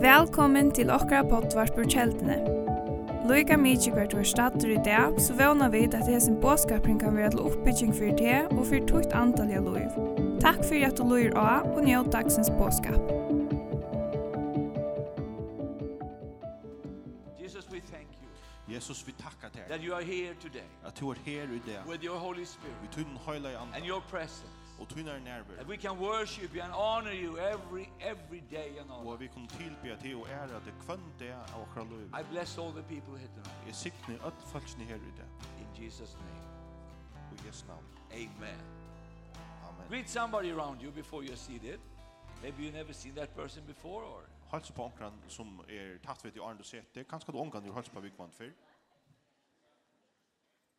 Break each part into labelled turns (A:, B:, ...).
A: Velkommen til okkara poddvarp ur kjeldene. Loika mykje hvert du er stater i dag, så vana vi at hesen båskapring kan være til oppbygging for det og for tukt antalliga loiv. Takk fyrir at du loir av og njød dagsens båskap.
B: Jesus, we thank you
C: Jesus, vi tackar dig
B: that you are here today
C: att du är här i det.
B: with your Holy Spirit
C: Vi tunn höjla i
B: and
C: andan
B: your presence.
C: och tunnar nerver.
B: That we can worship you and honor you every every day and all.
C: Och vi kommer tillbe till och ära det kvönt det av våra liv.
B: I bless all the people here tonight.
C: Jag siktar öll falskni här i det.
B: In Jesus' name,
C: Och Jesu namn.
B: amen.
C: Amen.
B: Greet somebody around you before you're seated. Maybe you've never seen that person before or...
C: Hals på onkran som är tatt vid i Arne och Sete. Kanske du ångan du hals på Vigman för.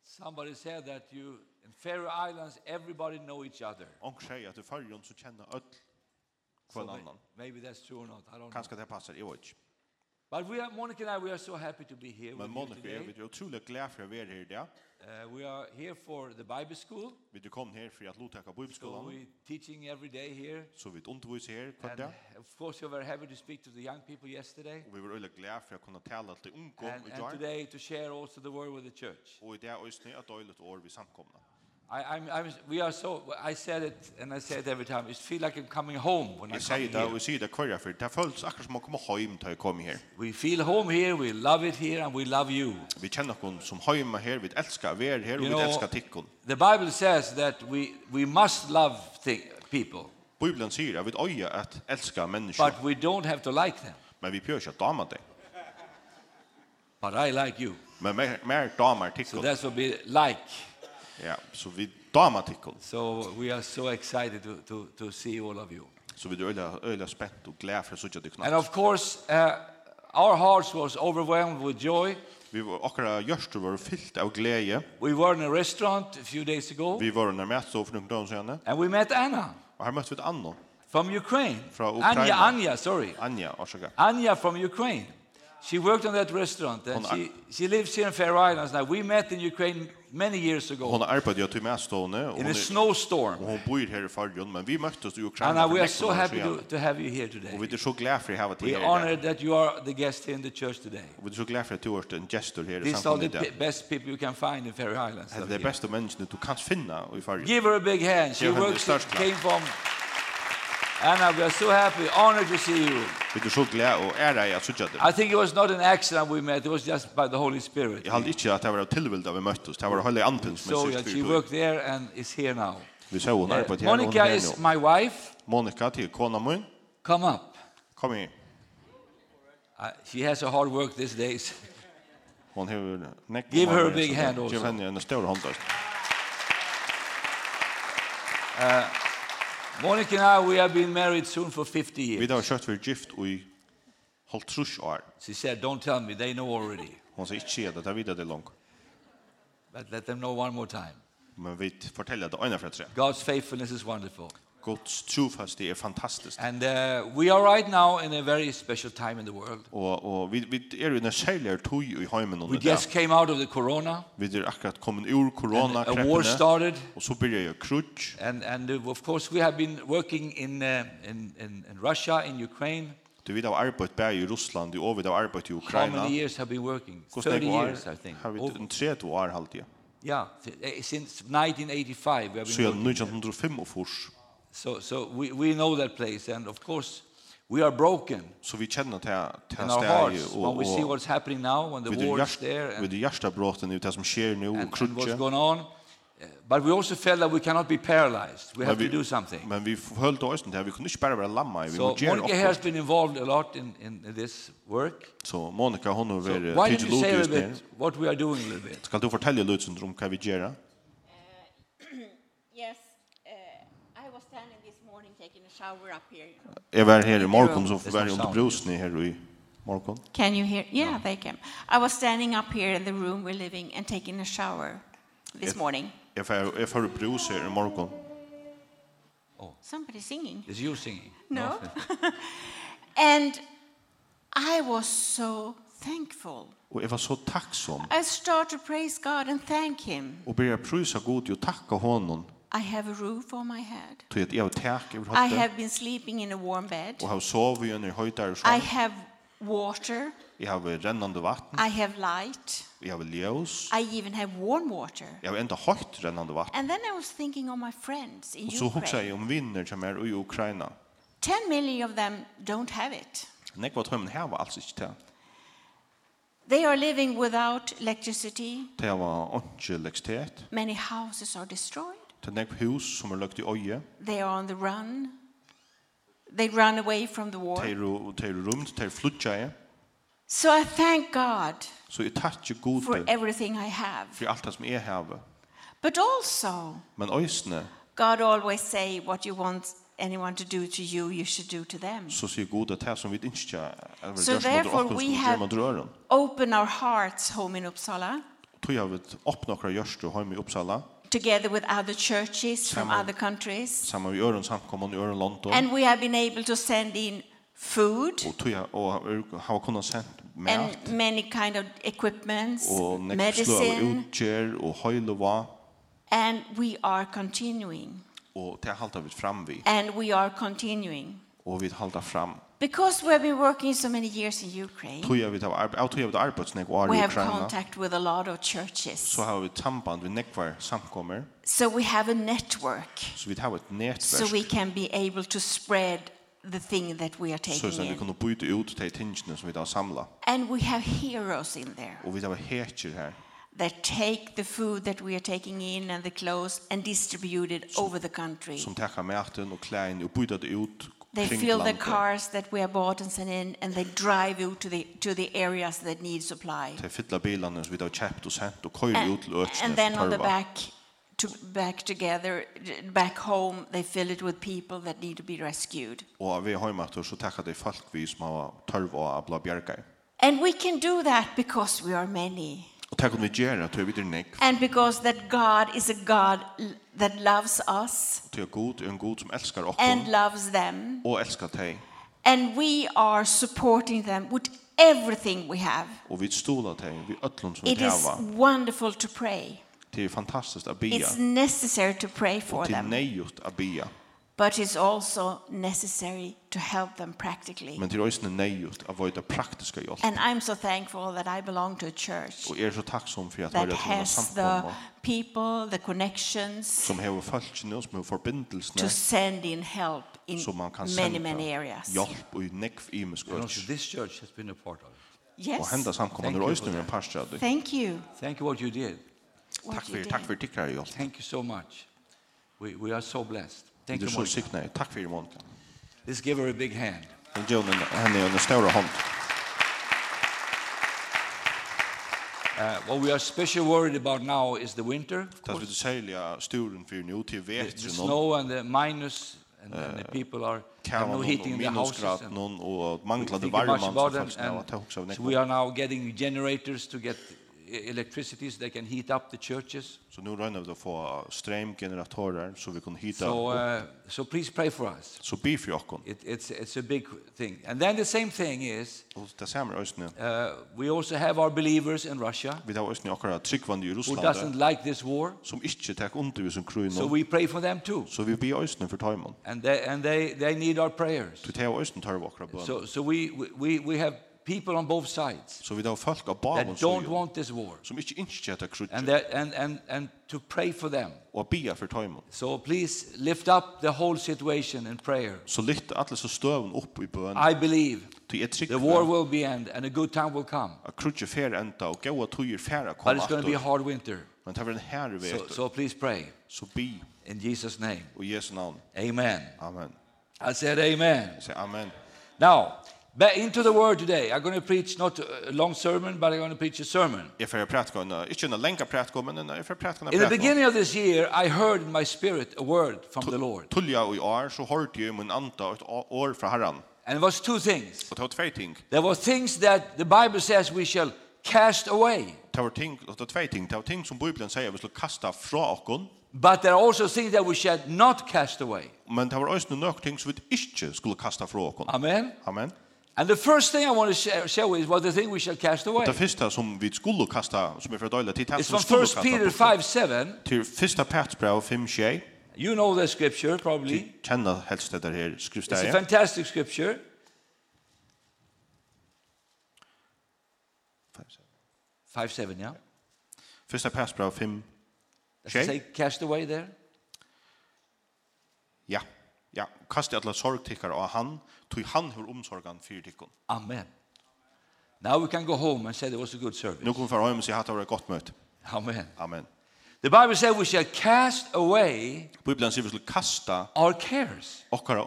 B: Somebody said that you, in Faroe Islands, everybody know each other.
C: Onk säger att i färgen så känner öll
B: So
C: kvann
B: may-
C: annan.
B: maybe that's true or not. I don't know.
C: Kanske det här passar, jag vet inte.
B: But we are, Monica and I, we are so happy to be here
C: Men
B: with you
C: Monica,
B: today.
C: jag vet otroligt glad för att vara här i det.
B: Uh, we are here for the Bible school.
C: Vi du kom här för att lotäcka
B: So
C: bibelskolan.
B: we're teaching every day here.
C: Så vi undervisar här kvann
B: And
C: det.
B: of course, you're very happy to speak to the young people yesterday.
C: Och vi var väldigt glad för att kunna tala till ungdom
B: And,
C: i
B: and
C: dag.
B: today to share also the word with the church.
C: Og i det øyne er døylet år vi samkomna.
B: I, I'm, I'm, we are so, I said it and I say it every time. It feels like I'm coming home when I come
C: Jeg sier det, og
B: here.
C: jeg sier det hver for det føles akkurat som å komme hjem til jeg kom her.
B: We feel home here, we love it here, and we love you.
C: Vi kjenner noen som hjemme her, vi elsker å være her, og
B: You
C: vi
B: know-
C: elsker tikkun.
B: The Bible says that we, we must love thing, people,
C: Bibelen sier at vi øye at elsker mennesker,
B: but we don't have to like them.
C: men vi prøver ikke at dame det.
B: But I like you.
C: Men mer, mer damer
B: So
C: tikkun.
B: that's what we like.
C: Ja, så vi damer tikkun.
B: So we are so excited to, to, to see all of you.
C: Så vi er øyla, øyla spett og glad for å sitte til
B: And
C: knall.
B: of course, uh, our hearts was overwhelmed with joy.
C: Vi var akkurat gjørster var fyllt av glede.
B: We were in a restaurant a few days ago,
C: Vi var under mætstå for noen dager siden,
B: and we met Anna
C: og her møtte vi et annet.
B: from Ukraine.
C: Fra
B: Anya,
C: Ukraina.
B: Anya, sorry.
C: Anja, årsaker.
B: Anya from Ukraine. She worked on that restaurant, and
C: Hon-
B: she, she lives here in Faroe Islands now. We met in Ukraine many years ago
C: Hon arbeider jo til mætstående, og
B: in
C: hun
B: a
C: er Og
B: snowstorm.
C: hon bor her i Farjon, men vi møttes i Ukraina.
B: Anna,
C: for
B: we are
C: nekkur
B: so
C: år
B: happy
C: siden.
B: to, to have you here
C: Og
B: today.
C: vi er så glad for å ha til
B: We
C: her
B: are
C: i dag.
B: honored that you are the guest here in the church today.
C: Og vi er så glad for at du er en gestor her i
B: These are the
C: samfunnet i
B: pe-
C: dag.
B: best people you can find in Faroe Islands.
C: Det er
B: out
C: de
B: here.
C: beste menneskene du kan finne i Farjon.
B: Give her a big hand. She
C: Give her the
B: works,
C: stars clap.
B: came from Anna. We are so happy, honored to see you.
C: Vi er så glad og ære i at sutja det.
B: I think it was not an accident we met. It was just by the Holy Spirit.
C: Jeg halde ikke at det var av tilvild da vi møttes. Det var hele anten som
B: So
C: jeg
B: yeah,
C: sørst
B: she
C: for.
B: worked there and is here now.
C: Vi så hon
B: Uh,
C: arbeid her. og Hon
B: Monica
C: er
B: is
C: nå.
B: my wife.
C: Monica til kona min.
B: Come up.
C: Kom her.
B: Uh, she has a hard work these days.
C: Hon hever nekk.
B: Give her a big hand also.
C: Give henne en stor hånd også.
B: Monica and I, we have been married soon for 50
C: Vi
B: years.
C: da har kjøtt for gift og i holdt trus år.
B: She said, don't tell me, they know already.
C: Hon sier ikke at det er videre det langt.
B: But let them know one more time.
C: Men vi forteller det øyne for tre.
B: God's faithfulness is wonderful.
C: Guds trofast det er fantastiskt.
B: And uh, we are right now in a very special time in the world.
C: Og, og vi, vi er jo en særlig tog i heimen
B: We
C: under
B: just
C: det.
B: came out of the corona.
C: Vi er akkurat kommet ur
B: and a war
C: korona-kreppene,
B: started.
C: og så blir jeg krutsk.
B: And, and uh, of course, we have been working in, uh, in, in, in Russia, in Ukraine.
C: Du vet av arbeid bare i Russland, du vet av arbeid i
B: How
C: Ukraina.
B: many years have we been working?
C: Hvordan er
B: 30
C: det går,
B: years, I think.
C: Har vi
B: Over.
C: en 30 år halvtid.
B: Yeah, th- eh, since 1985 we have
C: Så
B: been
C: jeg
B: working.
C: er 1905 og fors.
B: So, so we, we know that place. And of course, we are broken
C: Så vi kjenner til,
B: in
C: til
B: our
C: stedet,
B: hearts when
C: og,
B: we see
C: og
B: what's happening now, when the
C: vi
B: war
C: er
B: is there and,
C: hjertebråten i det som skjer nå, og
B: and, and what's
C: krutsk.
B: going on. Uh, But we also felt that we cannot be paralyzed. We have
C: vi,
B: to do something.
C: men vi følte oss til, vi kunne ikke bare være lamma, vi
B: So
C: må gjøre
B: Monica has
C: opp.
B: been involved a lot in, in this work.
C: Så Monica, hun har
B: So
C: vært
B: why don't
C: tidlig
B: you say a
C: lotus
B: little
C: nere.
B: bit what we are doing a little bit?
C: Skal du fortelle Lutzen om hva vi gjør?
D: Yes, uh, I was standing this morning taking a shower up here.
C: Jeg var her i morgen, så
B: There's
C: var jeg
B: no
C: under
B: sound.
C: brusen her i morgen.
D: Can you hear? Yeah, they can. I was standing up here in the room we're living and taking a shower this
C: Yes.
D: morning.
C: Jeg får, jeg får brus her i morgen.
D: Somebody singing.
B: Oh, Is you singing?
D: No. and I was so thankful.
C: Og jeg var så takksom.
D: I started to praise God and thank Him.
C: Og ber jeg prysa god og takka honom.
D: I have a roof over my head.
C: Tog at jeg har tak over
D: I
C: høyde
D: have been sleeping in a warm bed.
C: og har sovet under høyder og
D: I
C: sånn.
D: have water.
C: Jeg har rennende vatten,
D: I have light.
C: jeg har ljøs,
D: I even have warm water.
C: jeg har enda høyt rennende vatten.
D: And then I was thinking of my friends in
C: Og så hukser
D: Ukraine.
C: jeg om vinner som er i Ukraina.
D: 10 million of them don't have it.
C: Nekva tøymen her var altså ikke til.
D: They are living without electricity.
C: Det var ikke lekstitet.
D: Many houses are destroyed.
C: Det er nekva hus som er løgt i øye.
D: They are on the run. They run away from the war.
C: Det er jo- det er jo rumt, det er flutja jeg.
D: So I thank God
C: Så jeg tar ikke god
D: for
C: til
D: everything I have.
C: for alt det som jeg har.
D: But also,
C: Men øysene,
D: God always say what you want anyone to do to you, you should do to them.
C: så sier god at det som vi ikke er
D: So
C: det som
D: therefore
C: under
D: we
C: åkken som gjør
D: have-
C: mot røren.
D: Open our hearts home in Uppsala
C: Tog jeg vet opp nokra gjørst og hjemme i Uppsala,
D: together with other churches from
C: Samuel.
D: other countries.
C: sammen med Øren samkommun i Øren London.
D: And we have been able to send in food
C: Og tog jeg og har kunnet sendt
D: and
C: mat
D: many kind of equipments,
C: og nekk slå av
D: medicine,
C: utgjør og høylova
D: and we are continuing.
C: og det halda vi fram vi
D: And we are continuing.
C: og vi halda fram.
D: Because we have been working so many years in Ukraine,
C: Tog jeg vi tar arbeid, tog jeg vi tar arbeid snakk og
D: we
C: i
D: have
C: Ukraina,
D: contact with a lot of churches.
C: så har vi samband vi nekvar samkommer,
D: So we have a network.
C: så vi tar et
D: so we
C: nettverk,
D: can be able to spread the thing that we are
C: så
D: taking
C: vi
D: in.
C: kunne byte ut de tingene som vi tar samla.
D: And we have heroes in there
C: Og vi tar hetjer her,
D: that take the food that we are taking in and the clothes and distribute it over the country.
C: som tackar maten och kläderna och byter det ut
D: They
C: kring
D: fill the
C: landet.
D: cars that we have bought and sent in and they drive you to the, to the areas that need supply.
C: De fyller bilarna som vi har köpt och sent och kör
D: And,
C: ut till öknen
D: and then on the back, to, back together, back home, they fill it with people that need to be rescued.
C: Och vi har ju så tackar det folk vi som har törv och abla bjärkar.
D: And we can do that because we are many.
C: Och tack om vi gör det, tror vi det är nek.
D: And because that God is a God l- that loves us
C: Till jag god är en god som älskar och
D: and loves them,
C: och älskar dig.
D: and we are supporting them with everything we have.
C: Och vi stolar dig, vi ötlund som vi
D: It is
C: täva.
D: wonderful to pray.
C: Det är fantastiskt att bia.
D: It's necessary to pray for
C: Och till
D: them,
C: nej just att bia.
D: but it's also necessary to help them practically.
C: Men er till ösnen nej just att vara det praktiska hjälp.
D: And I'm so thankful that I belong to a church
C: Och är er så tacksam för att vara
D: that
C: till en
D: has the
C: samkomma
D: people, the connections
C: som har följt och som har
D: to
C: förbindelserna
D: send in help in
C: som man kan
D: many,
C: senda
D: many areas.
C: Hjälp och i nekv imisk
B: And also,
C: öts.
B: this church has been a part of it.
D: Yes.
C: Och hända samkommande
B: Thank you
C: röjsning
B: for
C: med en parstrad.
D: Thank you.
B: Thank you what you did.
D: what
C: Tack
D: you
C: för er-
D: did.
C: tack för tickare hjälp.
B: Thank you so much. We, we are so blessed. Thank
C: Det är
B: you,
C: så
B: Monica.
C: signat. Tack för Monica.
B: Let's give her a big hand.
C: Den Jonen han är en stor hand.
B: Uh, what we are especially worried about now is the winter. of
C: Det er
B: course.
C: vill säga sturen för nu till
B: The, Uh, the
C: vetren någon
B: snow and the minus and, and the people are have
C: kan
B: no
C: och
B: heating in the houses.
C: minusgrad
B: and
C: någon och
B: we
C: manglade
B: think much
C: värme
B: about
C: som
B: them,
C: faktiskt
B: and
C: var att
B: so
C: också
B: we
C: nekva.
B: are now getting generators to get e- electricities that can heat up the churches.
C: Så nu rönnar vi att få strömgeneratorer så vi kan
B: So, eh,
C: hitta
B: uh, so please pray for us.
C: så bi för oss.
B: It, it's, it's a big thing. And then the same thing is
C: Och det ser mer ösnen.
B: uh, we also have our believers in Russia
C: Vi tar ösnen akkurat tryggvande i
B: who doesn't
C: Ryssland
B: like this war.
C: som inte tar under vi som
B: So
C: krönon.
B: we pray for them too.
C: Så vi bi ösnen för tajmon.
B: And they, and they, they need our prayers.
C: Du tar ösnen tar vi akra bön.
B: So, so we, we, we have people on both sides
C: Så vi tar folk av bavon
B: that don't
C: som
B: want this war
C: som inte inte att
B: and,
C: krutja
B: that, and, and, and to pray for them.
C: och bia för tajmon.
B: So please lift up the whole situation in prayer.
C: Så lyfte alla så stövn upp i bön.
B: I believe
C: Ty är trygg
B: the war will be end and a good time will come.
C: att krutja fär ända och gå att tujur färra
B: But
C: komma
B: it's going to be a
C: after.
B: hard winter.
C: Men det var den här
B: So,
C: vet.
B: so please pray
C: Så bi
B: in Jesus' name.
C: och Jesu namn.
B: Amen.
C: Amen.
B: I said amen.
C: Jag säger amen.
B: Now, back into the word today. I'm going to preach not a long sermon, but I'm going to preach a sermon.
C: Jag får prätka en, inte en länka prätka, men en, jag får prätka en
B: In the
C: prätka.
B: beginning of this year, I heard in my spirit a word from the Lord.
C: Tulja och i år så hörde jag min anta ett å- år från herran.
B: And it was two things.
C: Och det var två ting.
B: There were things that the Bible says we shall cast away,
C: Det var ting, det var två ting. Det var ting som Bibeln säger vi skulle kasta från oss.
B: but there are also things that we shall not cast away.
C: Men det var också några ting som vi inte skulle kasta från oss.
B: Amen.
C: Amen.
B: And the first thing I want to share, share with you is what the thing we shall cast away.
C: Det första som vi skulle kasta, som er är för dåliga, det är
B: It's
C: det som
B: from
C: vi skulle
B: 1
C: kasta
B: Peter
C: bort.
B: 5 7.
C: Till första Petrus brev 5, 6.
B: You know the scripture probably.
C: Kjenna helst dette her
B: It's a
C: skriftsteget.
B: fantastic scripture. Five seven, yeah.
C: Første passbrev 5.
B: Does it
C: Shay?
B: say cast away there?
C: Ja. Ja, kast alla sorg tykkar av han, tog han hur omsorgan fyrir tykkon.
B: Amen. Now we can go home and say there was a good service.
C: Nu kommer fara hem och säga att det var ett gott möte.
B: Amen.
C: Amen.
B: The Bible says we shall cast away
C: Bibeln säger vi skulle kasta
B: our cares.
C: okkara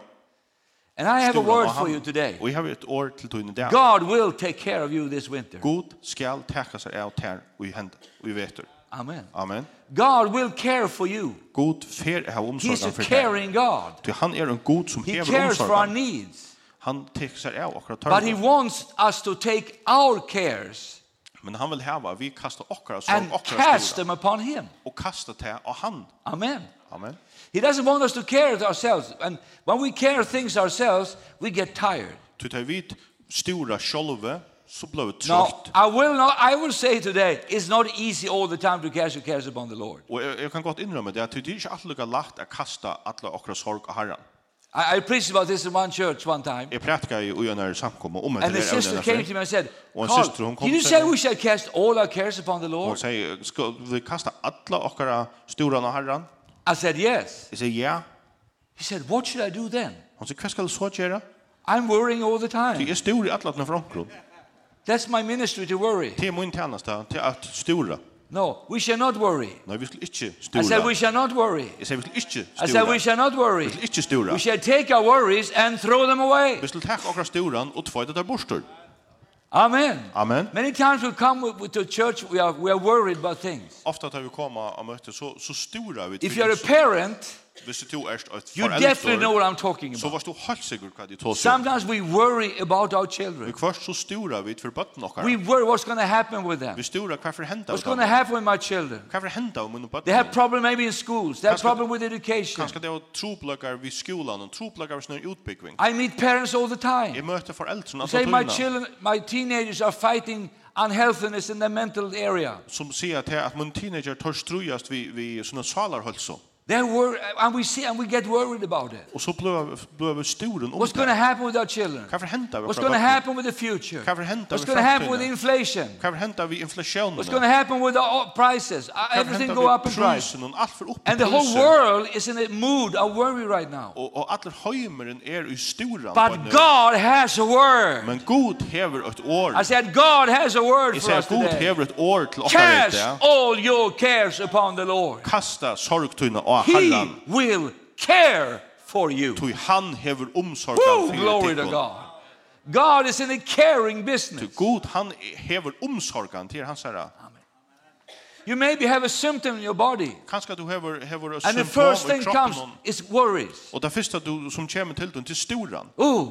B: And I have a
C: stora
B: word
C: av
B: for you
C: han.
B: today.
C: Och jag har ett år till tog in i det.
B: God will take care of you this winter.
C: God skal täcka sig av tär och i händer och i veter.
B: Amen.
C: Amen.
B: God will care for you.
C: God fer av
B: He's a
C: omsorgan för tär.
B: caring God.
C: Ty han är en god som
B: He
C: hever
B: cares for our
C: omsorgan.
B: needs.
C: Han täcker sig av okkara
B: But he
C: tär.
B: wants us to take our cares
C: Men han vill häva vi kasta okkara sorg
B: and
C: okkara
B: cast
C: stora
B: them upon him.
C: och kasta tär av han.
B: Amen.
C: Amen.
B: He doesn't want us to care it ourselves. And when we care things ourselves, we get tired.
C: Ty tar vid stora sjolve så blev det
B: Now,
C: trött.
B: I will not I will say today it's not easy all the time to cast your cares upon the Lord.
C: Og jeg, jeg kan godt innrømme det, at det er ikke alt lukka lagt å kaste alle okra sorg av herren.
B: I, I preached about this in one church one time.
C: Jeg prætka i uenere samkommet om etter
B: And the
C: det
B: sister came to me and said,
C: Og en
B: Carl,
C: syster, hon kom
B: did you
C: til
B: say
C: henne.
B: we shall cast all our cares upon the
C: Og hun
B: Lord?
C: sier, skal vi kaste alle okra storan av herren?
B: I said, yes.
C: Jeg sier, ja.
B: He said, what should I do then?
C: Hun sier, hva skal du så gjøre?
B: I'm worrying all the
C: Ty
B: time.
C: er stor i alle fra omkron.
B: That's my ministry to worry.
C: Til min tjeneste, til er at stora.
B: No, we shall not worry.
C: Nei, vi skulle ikke
B: I
C: stora.
B: said, we shall not worry.
C: Jeg sier, vi skulle ikke
B: I said,
C: stora.
B: we shall not worry.
C: Vi skulle ikke stora.
B: We shall take our worries and throw them away.
C: Vi skulle takke okra storan og tvøyde der bostor.
B: Amen.
C: Amen.
B: Many times we come with- with- to church, we are, we are worried about things.
C: Ofta tar vi koma og møte, så, så stora vi.
B: If you're a parent,
C: Hvis du er et
B: you definitely know
C: forelder,
B: what I'm talking
C: så
B: about.
C: varst du helt sikker hva de tås om.
B: Sometimes we worry about our
C: Vi
B: children.
C: kvørst så stora vi for bøtten okkar.
B: We worry what's going to happen with them.
C: Vi stora hva for henda
B: What's going to happen with my children?
C: Hva for henda om munne
B: They have problem maybe in schools. They have
C: Kanskje-
B: problem with education.
C: Kanskje det er troplagar vi skolan og troplagar vi snur utbyggving.
B: I meet parents all the
C: Jeg
B: time.
C: møter foreldrene
B: Ah. Say my
C: altså tøyna
B: children, my teenagers are fighting unhealthiness in their mental area.
C: som sier til at mun teenager tør strujast vi, vi sånne salarhølso.
B: They wor and we see and we get worried about it.
C: Og så blø blø vi storen om
B: What's going to happen with our children?
C: Hva for henda vi
B: What's
C: for
B: going to
C: bøtten?
B: happen with the future?
C: Hva for henda
B: What's
C: vi
B: going to happen with
C: framtiden?
B: inflation?
C: Hva for henda vi inflasjonen?
B: What's going to happen with the o- prices? Uh,
C: Hva for
B: Everything
C: henda
B: go up
C: vi
B: in price.
C: prisen og alt for opp i
B: And the whole
C: prisen?
B: world is in a mood of worry right now.
C: Og, og allir høymeren er i storan
B: But God has a word.
C: Men God hever et år.
B: I said God has a word
C: Jeg
B: for
C: sier
B: us
C: at Gud
B: today.
C: hever et år til okkar
B: Cast
C: vite.
B: all your cares upon the Lord.
C: Kasta sorgtuna av
B: He
C: Herren.
B: will care for you.
C: Tui han hever omsorgan
B: Woo,
C: fyrir
B: glory to
C: tykkun.
B: God. God is in a caring
C: Tui
B: business.
C: god han hever omsorgan til hans herra.
B: You maybe have a symptom in your body.
C: Kanska du hever hever a
B: And the
C: symptom
B: first
C: i
B: thing comes
C: kroppen.
B: is worries.
C: Og det fyrsta du som kjem til den til storan.
B: Ooh,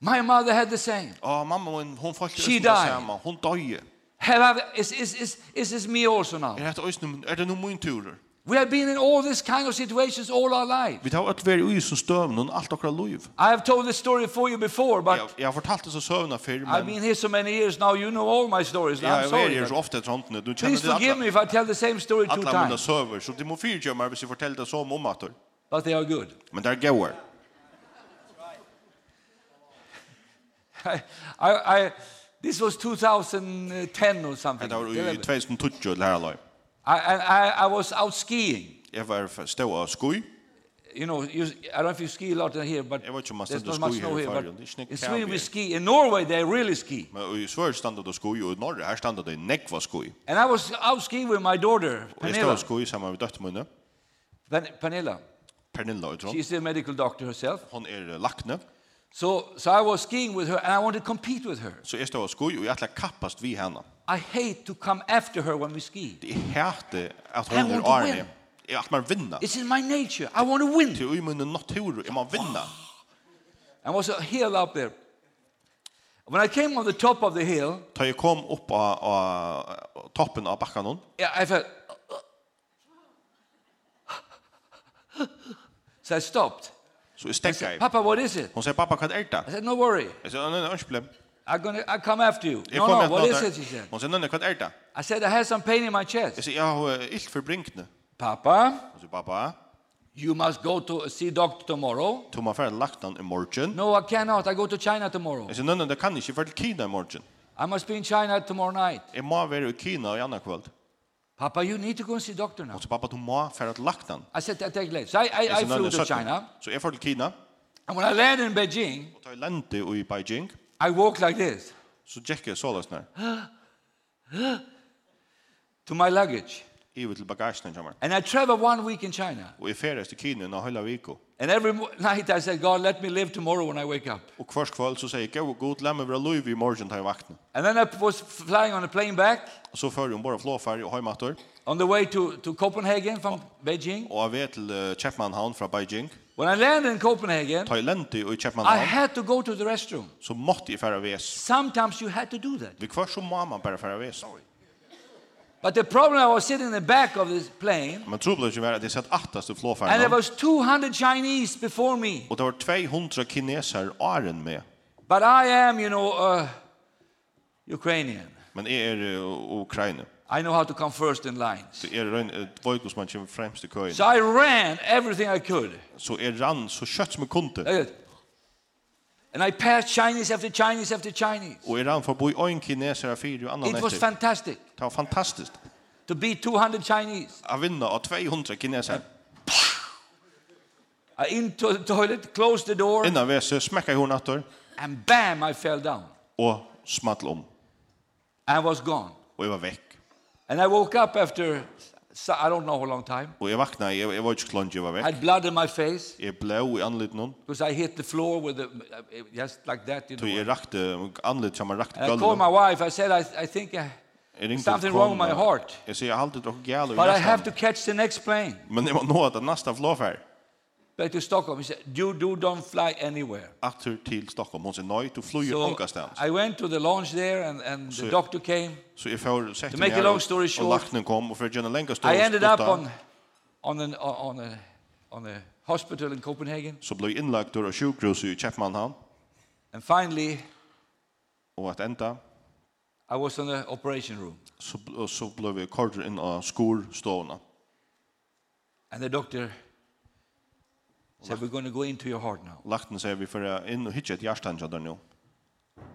B: my mother had the same.
C: Å, mamma min, hon falt
B: She
C: i det
B: died.
C: samme. Hon døye.
B: Have I, is, is, is, is this me also now?
C: Er det øyne, er det noen min turer?
B: We have been in all this kind of situations all our life.
C: Vi tar alt veri ui som støvn og alt okra loiv.
B: I have told this story for you before, but
C: Jeg, jeg har fortalt det så søvna før,
B: I've
C: men
B: been here so many years now. You know all my stories. Now.
C: jeg
B: I'm
C: har veri
B: sorry.
C: her så ofte etter hånden. Du
B: Please
C: kjenner det
B: forgive me if I tell the same story two
C: alle mine
B: times,
C: søver, så de må fyrtjø meg hvis jeg forteller det som om at det.
B: but they are good.
C: Men det er gauer.
B: I, I, this was 2010 or something.
C: Det var i
B: 11.
C: 2020 lærerløy.
B: I, I, I- I was out skiing.
C: Jeg var stå av skoj.
B: You know, you, I don't know if you ski a lot in here, but
C: Jag vet inte om man
B: there's
C: ständer
B: not much
C: skoj här
B: snow here. But
C: i Färjan. Det är snyggt
B: in
C: här
B: Sweden we
C: vid.
B: ski. In Norway they really ski.
C: Men i Sverige standa det skoj, og i Norge her standa det nekva skoj.
B: And I was out skiing with my daughter,
C: Og jeg stod av
B: Pernilla.
C: skoj sammen med døtt munne,
B: Pen, Pernilla.
C: Pernilla og Trond.
B: She's a medical doctor herself.
C: Hon er lakne,
B: So, so I was skiing with her and I wanted to compete with her.
C: så jeg stod av skoj, og jeg ætla kappast vi henne.
B: I hate to come after her when we ski.
C: Det er hæte
B: I
C: at hon
B: want
C: er
B: to
C: arne.
B: win.
C: Jeg at man vinna.
B: It's in my nature. I want to win.
C: Til ui munne natur, jeg må vinna.
B: I was a hill up there. When I came on the top of the hill,
C: Da jeg kom opp av, av toppen av bakkan hon,
B: Yeah, I felt. So I stopped.
C: så jeg
B: I
C: stekka
B: said,
C: jeg.
B: Papa, what is it?
C: Hon sier, pappa, hva er det?
B: I said, no worry.
C: Jeg sier, nei, nei, ikke problem.
B: I'm gonna, I come after you.
C: Jeg
B: No,
C: kom
B: no,
C: med
B: what is
C: noter.
B: it? She said.
C: Hon sier, nei, nei, hva er det?
B: I said, I had some pain in my
C: Jeg
B: chest.
C: sier, jeg har eh, ilt for brinkene.
B: Papa,
C: Hon sier, pappa,
B: You must go to see doctor tomorrow.
C: Du må fære lagtan i morgen.
B: No, I cannot. I go to China tomorrow.
C: Jeg sier, nei, nei, det kan ikke, for til Kina i morgen.
B: I must be in China tomorrow night.
C: Jeg må være i Kina i andre kvöld.
B: Papa, you need to go and see doctor now.
C: Og så, pappa, du må fære til lagtan.
B: I said, I take later. So I, I, I
C: Jeg sier, nei,
B: flew
C: nei,
B: to
C: søtten.
B: China.
C: Så jeg får til Kina,
B: And when I landed in Beijing,
C: og tar lente i Beijing,
B: I walked like this
C: så tjekker jeg såles nær.
B: to my luggage.
C: Ivet til bagasjen, kommer.
B: And I traveled one week in China.
C: Og jeg færes til Kina nå hele viko.
B: And every mo- night I said, God, let me live tomorrow when I wake up.
C: Og hver kvöld så sier jeg, gå god, la meg være lov i morgen til jeg vakna.
B: And then I was flying on a plane back
C: Og så fører hun bare flåfær og heimator,
B: on the way to, to Copenhagen from Beijing.
C: og jeg vet til eh, Kjepmanhavn fra Beijing.
B: When I landed in Copenhagen,
C: Ta i lente i
B: I
C: Kjepmanhavn,
B: had to go to the restroom.
C: så måtte jeg fære ves.
B: Sometimes you had to do that.
C: Vi kvar så må man bare fære ves.
B: But the problem, I was sitting in the back of this plane,
C: Men troblet ikke være at jeg sett aftast i
B: and there
C: flåfærene.
B: was 200 Chinese before me.
C: Og det var 200 kineser åren med.
B: But I am, you know, uh, Ukrainian.
C: Men jeg er uh, Ukraina.
B: I know how to come first in lines.
C: Så jeg er en uh, vojkos man kommer fremst i køyen.
B: So I ran everything I could.
C: Så jeg rann så kjøtt som jeg kunde.
B: Like that. And I passed Chinese after Chinese after Chinese.
C: Og jeg rann forbi en kineser av fire og annan
B: It was
C: etter.
B: fantastic
C: Det var fantastisk.
B: to be 200 Chinese.
C: Jeg vinner av 200 kineser.
B: I into the toilet, closed the door,
C: Innan vese smekka i hornator
B: and bam, I fell down.
C: og smattel om.
B: I was gone.
C: Og jeg var vekk.
B: And I woke up after, so- I don't know how long time.
C: Og jeg vakna, jeg, jeg var ikke klonj, jeg var
B: I
C: vekk.
B: had blood in my face
C: Jeg blå i anlitt noen.
B: because I hit the floor with the, just like that, you
C: Så jeg
B: know.
C: rakte anlitt som jeg rakte
B: And I called
C: gulvet.
B: my wife. I said, I, I think uh, I,
C: Jeg ringte
B: something
C: til
B: wrong with my
C: kona.
B: heart.
C: Jeg sier, jeg halte dere gale i
B: But I have to
C: resten.
B: catch the next plane
C: Men jeg må nå at det neste flåfær.
B: back to Stockholm. He said, you do don't fly anywhere.
C: Atter til Stockholm. Hun sier, nei, du flyr
B: So
C: ångastens.
B: I went to the lounge there and, and the
C: So-
B: doctor came.
C: Så jeg får sette
B: To make a
C: her,
B: long
C: og-
B: story short,
C: og lakten kom, og for å gjøre en lenge
B: I
C: story
B: ended up on, on, an, on, a, on a hospital in Copenhagen.
C: så ble jeg innlagt og sjukhus i Kjeppmannhavn,
B: And finally,
C: og at enda,
B: I was in the operation room.
C: så, bl- og så ble vi kortet inn av skorstående.
B: And the doctor said, we're going to go into your heart now.
C: Lakten sier vi for å inn og hitje et hjertet til nå.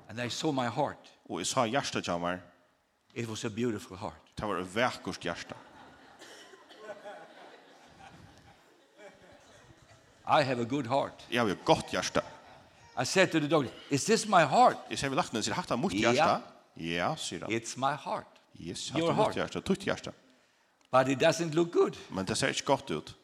B: And I saw my heart.
C: Og jeg sa hjertet til meg,
B: It was a beautiful heart.
C: det var et vekkert hjerte.
B: I have a good heart.
C: Jeg har jo et godt hjerte.
B: I said to the doctor, is this my heart?
C: Jeg sier vi lakten, sier hatt av mot
B: Ja.
C: hjerte? Ja, sier han.
B: It's my heart.
C: Yes, hatt
B: your
C: av mot
B: heart.
C: hjerte, tutt hjerte.
B: But it doesn't look good.
C: Men det ser ikke godt ut.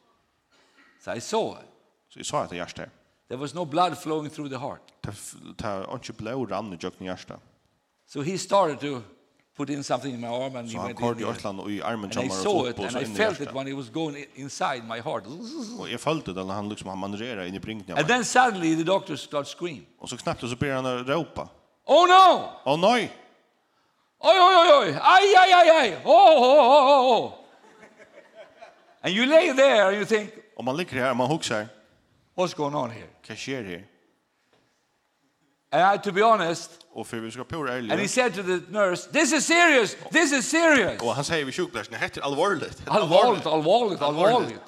B: So I saw it.
C: Så jeg sa at det hjerte her.
B: There was no blood flowing through the heart.
C: Det er ikke blå rann i jøkken i hjerte.
B: So he started to put in something in my arm and he
C: Så han
B: went in
C: kort i
B: there.
C: Østland og i armen
B: And I
C: kommer og
B: saw it
C: fotball
B: and I
C: så inn i
B: felt it
C: hjertet.
B: when it was going i- inside my heart. And
C: Og jeg følte det, han liksom han manøvrerade inn i brinken av meg.
B: then suddenly the doctor started screaming.
C: Og så knappt så blir han å råpa.
B: Oh no!
C: Å nei!
B: Oj, oj, oj, oj! Aj, aj, aj, aj! Oh, oh, oh, oh, oh! And you lay there and you think,
C: Og man ligger her, man huxar.
B: what's going on here?
C: Hva skjer her?
B: And I, to be honest,
C: Og for vi skal pura
B: and he
C: ærlig.
B: said to the nurse, this is serious, this is serious.
C: Og han sier vi sjukblæsene, hette er alvorligt.
B: Allvarligt, allvarligt, allvarligt.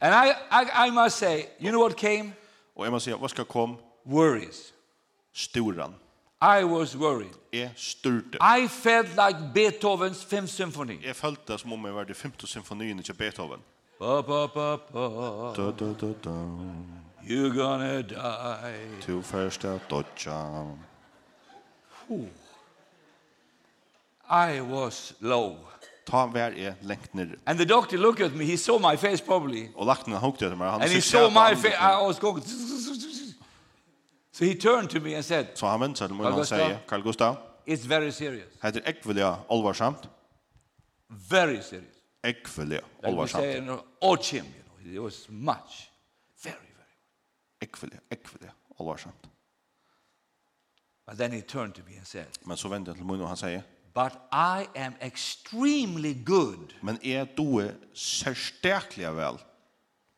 B: And I, I, I must say, you know what came?
C: Og jeg må si, hva skal kom?
B: Worries.
C: Storan.
B: I was worried.
C: Jeg styrte.
B: I felt like Beethoven's Fifth Symphony.
C: Jeg følte det som om jeg var i 50 symfonien til Beethoven.
B: Ba, ba, ba, ba.
C: Da, da, da, da.
B: You're gonna die.
C: To first at dodja.
B: I was low.
C: Ta hver er jeg lengt ned.
B: And the doctor looked at me. He saw my face probably.
C: Og lakten han hukte etter meg. Han
B: And he
C: sitter
B: saw
C: her på
B: my
C: andre
B: face.
C: siden.
B: I was going. So he turned to me and said,
C: Så han väntar till mig
B: Carl
C: och han
B: Gustav.
C: säger, Carl Gustav,
B: It's very serious.
C: heter Ekvelia allvarsamt?
B: Very serious.
C: Ekvelia
B: Like we say
C: allvarsamt.
B: in Ochim, you know, it was much. Very, very.
C: Ekvelia, Ekvelia allvarsamt.
B: But then he turned to me and said,
C: Men så vänder jag till mig och han säger,
B: But I am extremely good
C: men er är du särstäkliga väl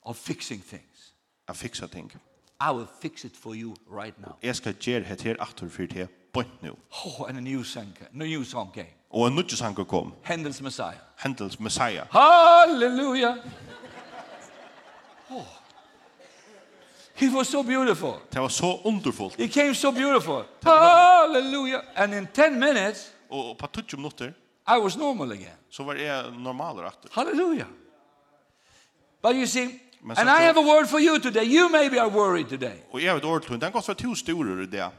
B: of fixing things.
C: att fixa ting?
B: I will fix it for you right now.
C: Jeg skal gjøre hette her atter for det bort nå.
B: Oh, and a new song, a new song came.
C: Og en nødjesanker kom,
B: Handel's Messiah.
C: Hendels Messiah.
B: Hallelujah. Oh. He was so beautiful.
C: Det var så underfullt.
B: He came so beautiful. Hallelujah. And in 10 minutes,
C: Og på 20 minutter
B: I was normal again.
C: så var jeg normaler atter.
B: Hallelujah. But you see,
C: Men så
B: and I
C: tror-
B: have a word for you today. You maybe are worried today.
C: Og jeg vet ordentlig, den kost var to sturer i det.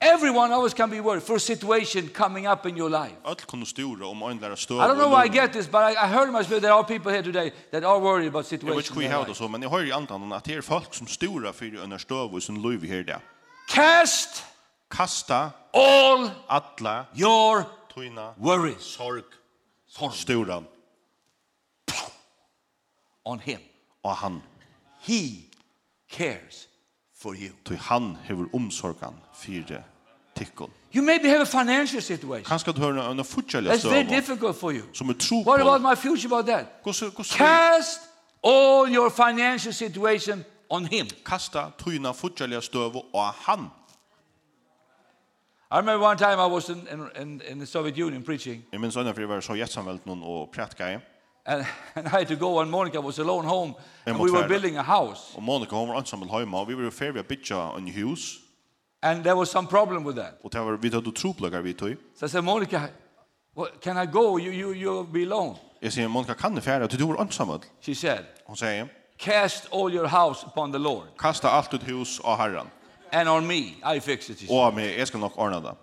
B: Everyone always can be worried for a situation coming up in your life.
C: Alt kunne sture om øynene lærer støv.
B: I don't know
C: og
B: why I
C: løgn.
B: get this, but I, I heard myself there are people here today that are worried about
C: Jeg vet
B: situations.
C: ikke
B: in
C: hvor jeg
B: their
C: har
B: life.
C: det så, men jeg hører i andan at det er folk som stora for under støv og sin løyv her det.
B: Cast
C: Kasta
B: all
C: alla
B: your
C: tøyna
B: worries
C: sorg storan
B: on him.
C: og han.
B: He cares for you.
C: Tøy han hevur omsorgan fyrir tykkun.
B: You maybe have a financial situation.
C: Kanska du hører en futjalig
B: That's very
C: støv
B: difficult for you.
C: som er tro på.
B: What about my future about that?
C: Hvordan hvordan
B: Cast all your financial situation on him.
C: kasta tøyna futjalig støv og han.
B: I remember one time I was in, in, in, in the Soviet Union preaching,
C: Jeg minns øyne for jeg var så gjettsamvelt noen og prætgeie.
B: and, and I had to go one morning. I was alone home, and
C: mot
B: we were
C: världen.
B: building a house,
C: Og Monika hun var ansamvel heima, og vi var ferdig å bytja en hus,
B: and there was some problem with that.
C: og det var vi tatt og tropløkker vi tøy.
B: So I said, Monica, what, can I go? You, you, you'll be alone.
C: Jeg sier, Monika, kan du ferdig? Du var ansamvel.
B: She said,
C: Hun sier,
B: Cast all your house upon the Lord
C: kasta alt ut hus av herran.
B: and on me. I fix it. She said.
C: Og med, jeg skal nok ordne det.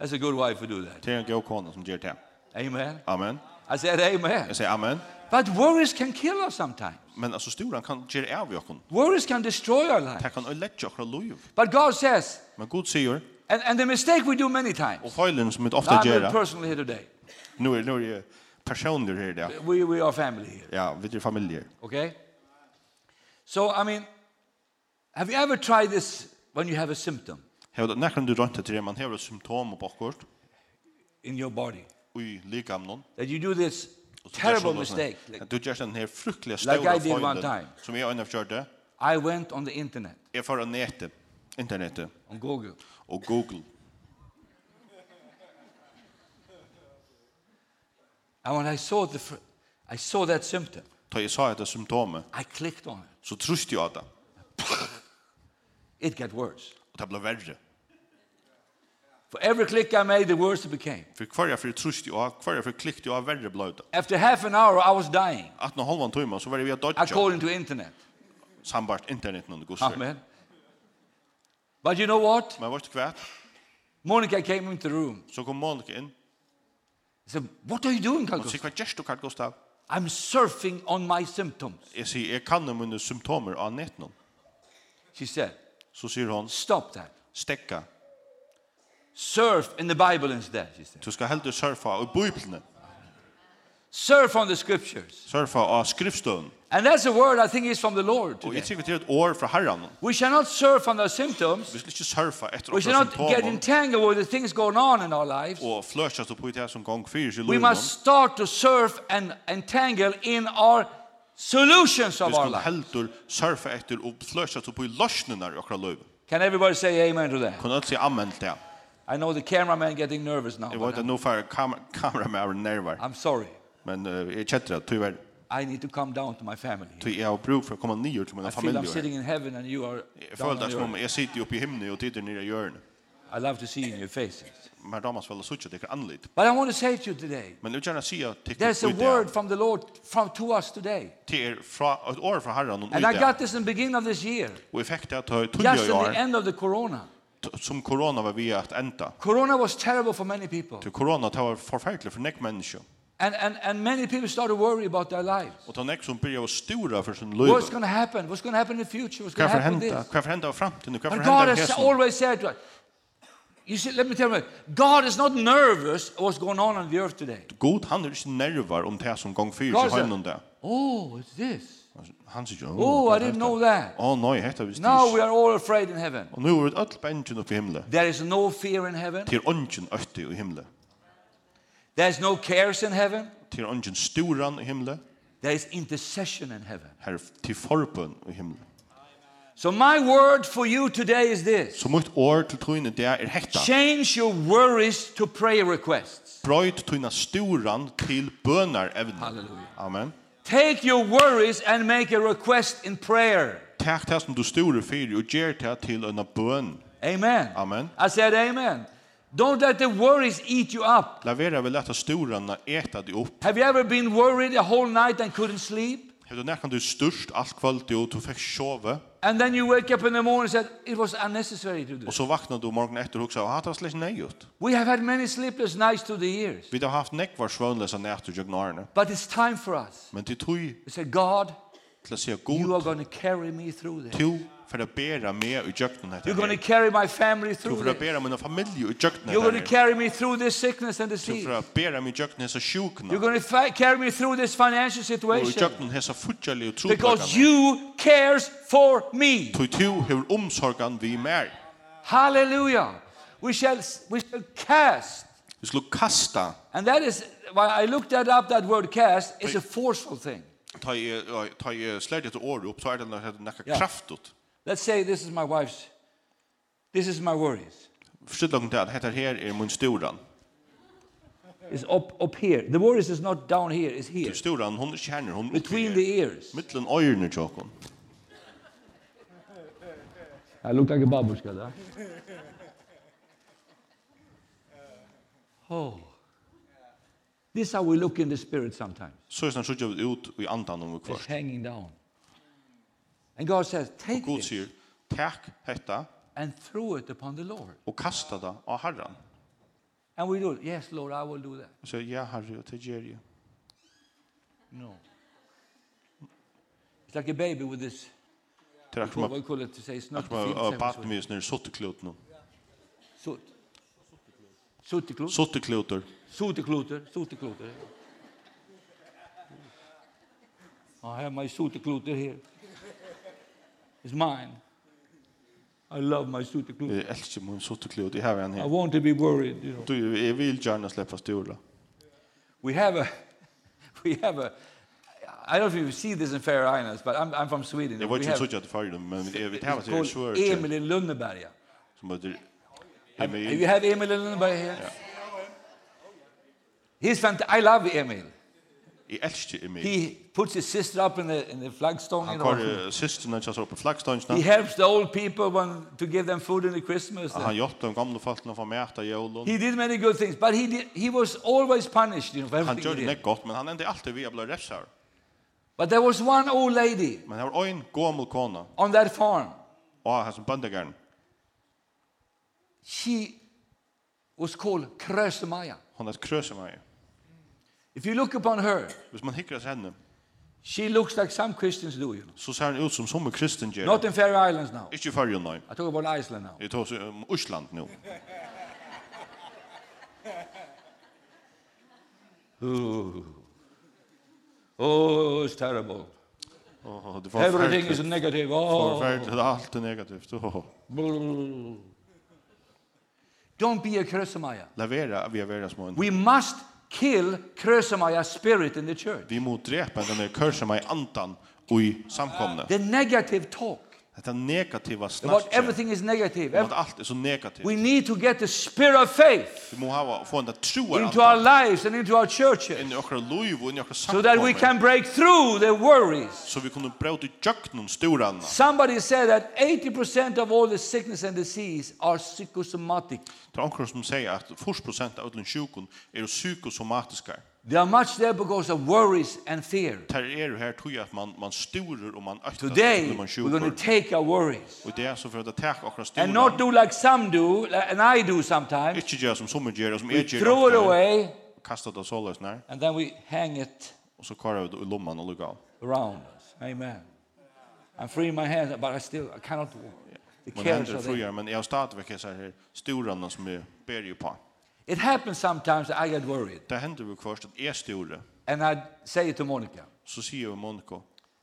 B: That's a good wife to do that.
C: Det er en god kone som gjør det.
B: Amen.
C: Amen.
B: I said, Amen.
C: Jeg sier amen.
B: But worries can kill us sometimes.
C: Men altså, storan kan gjøre av jokken.
B: Worries can destroy our life.
C: Det kan ødelegge okra loiv.
B: But God says,
C: Men Gud sier,
B: and, and the mistake we do many times.
C: og feilen som vi ofte
B: I'm
C: gjør,
B: personally here today.
C: nå er, nå er jeg personer her, ja.
B: We, we are family here.
C: Ja, vi er familier.
B: Okay? So, I mean, have you ever tried this when you have a symptom
C: Hevd, nekker du rønte til det, man hever symptomer på akkurat,
B: in your body?
C: ui likamnon.
B: That you do this
C: Og så
B: terrible
C: gjør sånn og sånn.
B: mistake. Like,
C: Du gjør den her fruktelige
B: Like
C: støvla
B: I did one time.
C: feilen som jeg øyne kjørte.
B: I went on the internet,
C: Jeg får av nettet, internettet
B: on Google,
C: og Google.
B: and when I saw, the, fir- I saw that symptom,
C: Da jeg sa etter symptomer,
B: I clicked on it.
C: så truste jeg av det.
B: It got worse.
C: Og det ble verre.
B: For every click I made, the worse it became.
C: For hver jeg for truste jeg av, hver jeg for klikte jeg av verre ble det.
B: After half an hour, I was dying,
C: At når halvan tøyma, så var jeg via dodja
B: according to internet.
C: sambart internet noen gusser.
B: Amen. But you know what?
C: Men vart kvært,
B: Monica came into the room.
C: så kom Monika inn.
B: I said, what are you doing, Carl
C: Hun sier,
B: Gustaf?
C: hva gjerst du, Karl Gustav?
B: I'm surfing on my symptoms.
C: Jeg sier, jeg kan om mine symptomer av nettet noen.
B: She said,
C: Så sier hun,
B: stop that.
C: stekka.
B: Surf in the Bible instead, she said.
C: Du skal heldur surfa av biblene.
B: Surf on the scriptures.
C: Surfa av skriftstøvn.
B: And that's a word I think is from the Lord
C: Og
B: today.
C: jeg sier, det er et år fra herran.
B: We shall not surf on our symptoms.
C: Vi skal ikke surfa etter
B: We
C: okra
B: shall not get
C: symptomer
B: entangled with the things going on in our lives.
C: og flørkast opp i det som gong fyrir seg
B: We
C: løgnen.
B: must start to surf and entangle in our solutions
C: Vi
B: of our
C: skal
B: life.
C: heldur surfa etter og flørkast opp i løsnenar i okra løgn.
B: Can everybody say amen to that?
C: Kunne alt si amen til det.
B: I know the cameraman getting nervous now.
C: Jeg
B: but
C: vet at
B: I'm,
C: nå får kameramæren nervar.
B: I'm sorry.
C: Men eh, jeg kjenner det, tyvärr.
B: I need to come down to my family.
C: Ty jag har brug för att komma ner till mina
B: I feel I'm
C: familjer.
B: sitting in heaven and you are
C: Jag
B: down
C: føler
B: on
C: det
B: the
C: som om
B: earth.
C: jag sitter uppe i himlen och tittar ner i hjørnet.
B: I love to see in your faces.
C: Men damas väl så att det är anlit.
B: But I want to say to you today,
C: Men jag gärna se att det
B: there's a
C: är
B: word from the Lord from to us today.
C: till er fra ett år från Herren och
B: And I
C: ut.
B: got this in the beginning of this year,
C: Och effekten att ta tulla
B: just
C: i
B: in the
C: år
B: end of the corona.
C: t- som corona var vi att ända.
B: Corona was terrible for many people.
C: Till corona tar var förfärligt för näck människor.
B: And, and, and many people started to worry about their lives.
C: Och ta näck som börjar vara stora för sin
B: What's
C: löv.
B: going to happen? What's going to happen in the future? What's going
C: Kan
B: to
C: för
B: happen with
C: hända?
B: this?
C: Kan för hända av framtiden? Kan för
B: But God
C: hända
B: has
C: av hästen?
B: always said to us, you see, let me tell you, God is not nervous of what's going on on the earth today.
C: God han är inte er nervar um om det som gång fyra
B: God
C: i
B: said-
C: hemmen där.
B: Oh, it's this.
C: Han säger,
B: Oh,
C: er
B: I didn't know that.
C: Åh, nej, hette visst
B: Now we
C: inte.
B: are all afraid in heaven.
C: Och nu är det er öll bänken uppe i himlen.
B: There is no fear in heaven.
C: Til ongen øtti i himle.
B: There is no cares in heaven.
C: Til ongen storan i himle.
B: There is intercession in heaven.
C: Her til forbøn i himle.
B: So my word for you today is this.
C: Så mitt ord til tøyne det er hekta.
B: Change your worries to prayer requests.
C: Brøyt tøyne storan til bønar evne.
B: Hallelujah.
C: Amen.
B: Take your worries and make a request in prayer.
C: Takk det som du store fyrir og gjer det til en bøn.
B: Amen.
C: Amen.
B: I said amen. Don't let the worries eat you up.
C: La vera vi leta storan eta de opp.
B: Have you ever been worried a whole night and couldn't sleep?
C: Hef du nekkan du størst alt kvöld og du fikk sjove,
B: And then you wake up in the morning and said, it was unnecessary to do.
C: og så vakna du morgen etter og hugsa, ah, det var slett neiut.
B: We have had many sleepless nights through the years.
C: Vi har haft nekvar svønlesa nætter jøgn arne,
B: But it's time for us.
C: men til tui
B: We say, God,
C: til å sige
B: you are
C: god,
B: going to carry me through this.
C: tu for å bæra meg i jøgnen
B: You're going to
C: etter
B: carry my family
C: Tu
B: through
C: for å
B: this.
C: bæra min familie i jøgnen
B: You're going to
C: etter
B: carry me through this sickness and
C: Tu
B: disease.
C: for å bæra meg i jøgnen hessa
B: You're
C: sjukna,
B: going to fi- carry me through this financial
C: og i
B: situation.
C: jøgnen hessa futjali og
B: Because
C: trupakana.
B: you cares for me.
C: Tu tu hever omsorgan vi mer.
B: Hallelujah. We shall, we shall cast.
C: Vi skulle kasta,
B: And that is, why I looked that up, that word cast. It's a forceful thing.
C: ta i, ta i slært etter året opp, så er det nekka
B: Ja.
C: kraftut.
B: Let's say this is my wife's, this is my worries.
C: Forstid langt det, hetta her er mun storan.
B: It's up, up here. The worries is not down here, it's here.
C: Storan, hon er kjerner, hon er
B: Between the ears.
C: Mittlen øyrene tjokken.
B: I look like a babushka there. Oh. This is how we look in the spirit sometimes.
C: Så er det sånn vi ut i andan om vi
B: It's
C: kvart.
B: hanging down. And God says, take
C: God
B: it
C: sier, takk hetta
B: and throw it upon the Lord.
C: og kasta det av herran.
B: And we do it. Yes, Lord, I will do that.
C: Og sier, ja herre, og til gjer jeg.
B: No. It's like a baby with this,
C: Til
B: what
C: akkurat
B: we call it to say, it's not
C: med baten vi snir sotteklot nå.
B: Sot. Sotekloter.
C: Sottekloter.
B: Sotekloter. Sotekloter. I have my sotekloter here. It's mine. I love my sotekloter.
C: Jeg elsker min sotteklot, jeg har en
B: I
C: her.
B: want to be worried, you know.
C: Du, jeg vil gjerne slippe ståla.
B: We have a, we have a, I don't know if you see this in Faroe Islands, but I'm, I'm from Sweden.
C: Jeg
B: We
C: var ikke
B: have-
C: sånn at det farger dem, men jeg vet
B: it's
C: her at jeg
B: called
C: er svør.
B: Emil i Lönneberga.
C: Som heter
B: You
C: Emil.
B: have Emil in Lönneberga here? He's fantastic. I love Emil.
C: Jeg elsker Emil.
B: He puts his sister up in the, in the flagstone. You
C: Han
B: know.
C: kvar systerne som står på
B: He
C: flaggståndsene.
B: helps the old people when, to give them food in the Christmas.
C: Han hjelper de gamle folkene for meg etter jævlen.
B: He did many good things, but he, did, he was always punished you know, for
C: Han
B: everything
C: gjør
B: he
C: det
B: did.
C: nekk godt, men han endi alltid vi ble refsar.
B: But there was one old lady
C: Men her var ein gammel kona,
B: on that farm.
C: og han som bøndegaren,
B: She was called Krösemaya.
C: hon er krøse meg.
B: If you look upon her,
C: Hvis man hikker seg henne,
B: she looks like some Christians do, you know.
C: så ser han ut som som en kristen gjør.
B: Not in Faroe Islands now.
C: Ikke før jo nei.
B: I talk about Iceland now.
C: Jeg tar oss om Osland nå.
B: Ooh. Oh, it's terrible.
C: Åh, det var
B: Everything is
C: forferdelig.
B: negative. Oh.
C: Forferdelig, det er alltid negativt. Åh,
B: Brr. Don't be a Krösemaya.
C: La vera, vi er vera små.
B: We must kill Krösemaya's spirit in the church.
C: Vi må drepa denne krøse meg andan og i samkomne.
B: The negative talk
C: Dette negativa
B: about
C: snakket,
B: everything is negative.
C: om at
B: Ev-
C: alt er så negativt.
B: We need to get the spirit of faith
C: Vi må hava, få en troer
B: into our
C: andan
B: lives and into our churches
C: inn i okra loiv og inn i okra
B: so that we
C: samkomne.
B: can break through the worries.
C: Så vi kunne brøte jøknen storanna.
B: Somebody said that 80% of all the sickness and disease are psychosomatic.
C: Det er anker som sier at 40% av utlund sjukun er psykosomatiske.
B: They are much there because of worries and fear.
C: Det er jo her tog at man, man sturer og man økter
B: Today,
C: man
B: we're going to
C: sjukur.
B: take our worries
C: Og det er så for at det tek akkurat
B: and not
C: sturer.
B: do like some do, like- and I do sometimes.
C: Ikke gjør som sommer gjør, og som
B: We
C: jeg
B: throw it
C: gjør.
B: away
C: Kastet det såleis nær,
B: and then we hang it
C: og så karer vi det i lomman og lukka av.
B: around us. Amen. I'm freeing my hands, but I still I cannot walk. The
C: Man
B: cares
C: hender
B: are there.
C: fruer, men jeg har stadigvæk hessa her sturarna som jeg ber jo på.
B: It happens sometimes that I get worried,
C: Det hender vi først at jeg sture,
B: and I say it to Monica,
C: så sier vi Monika,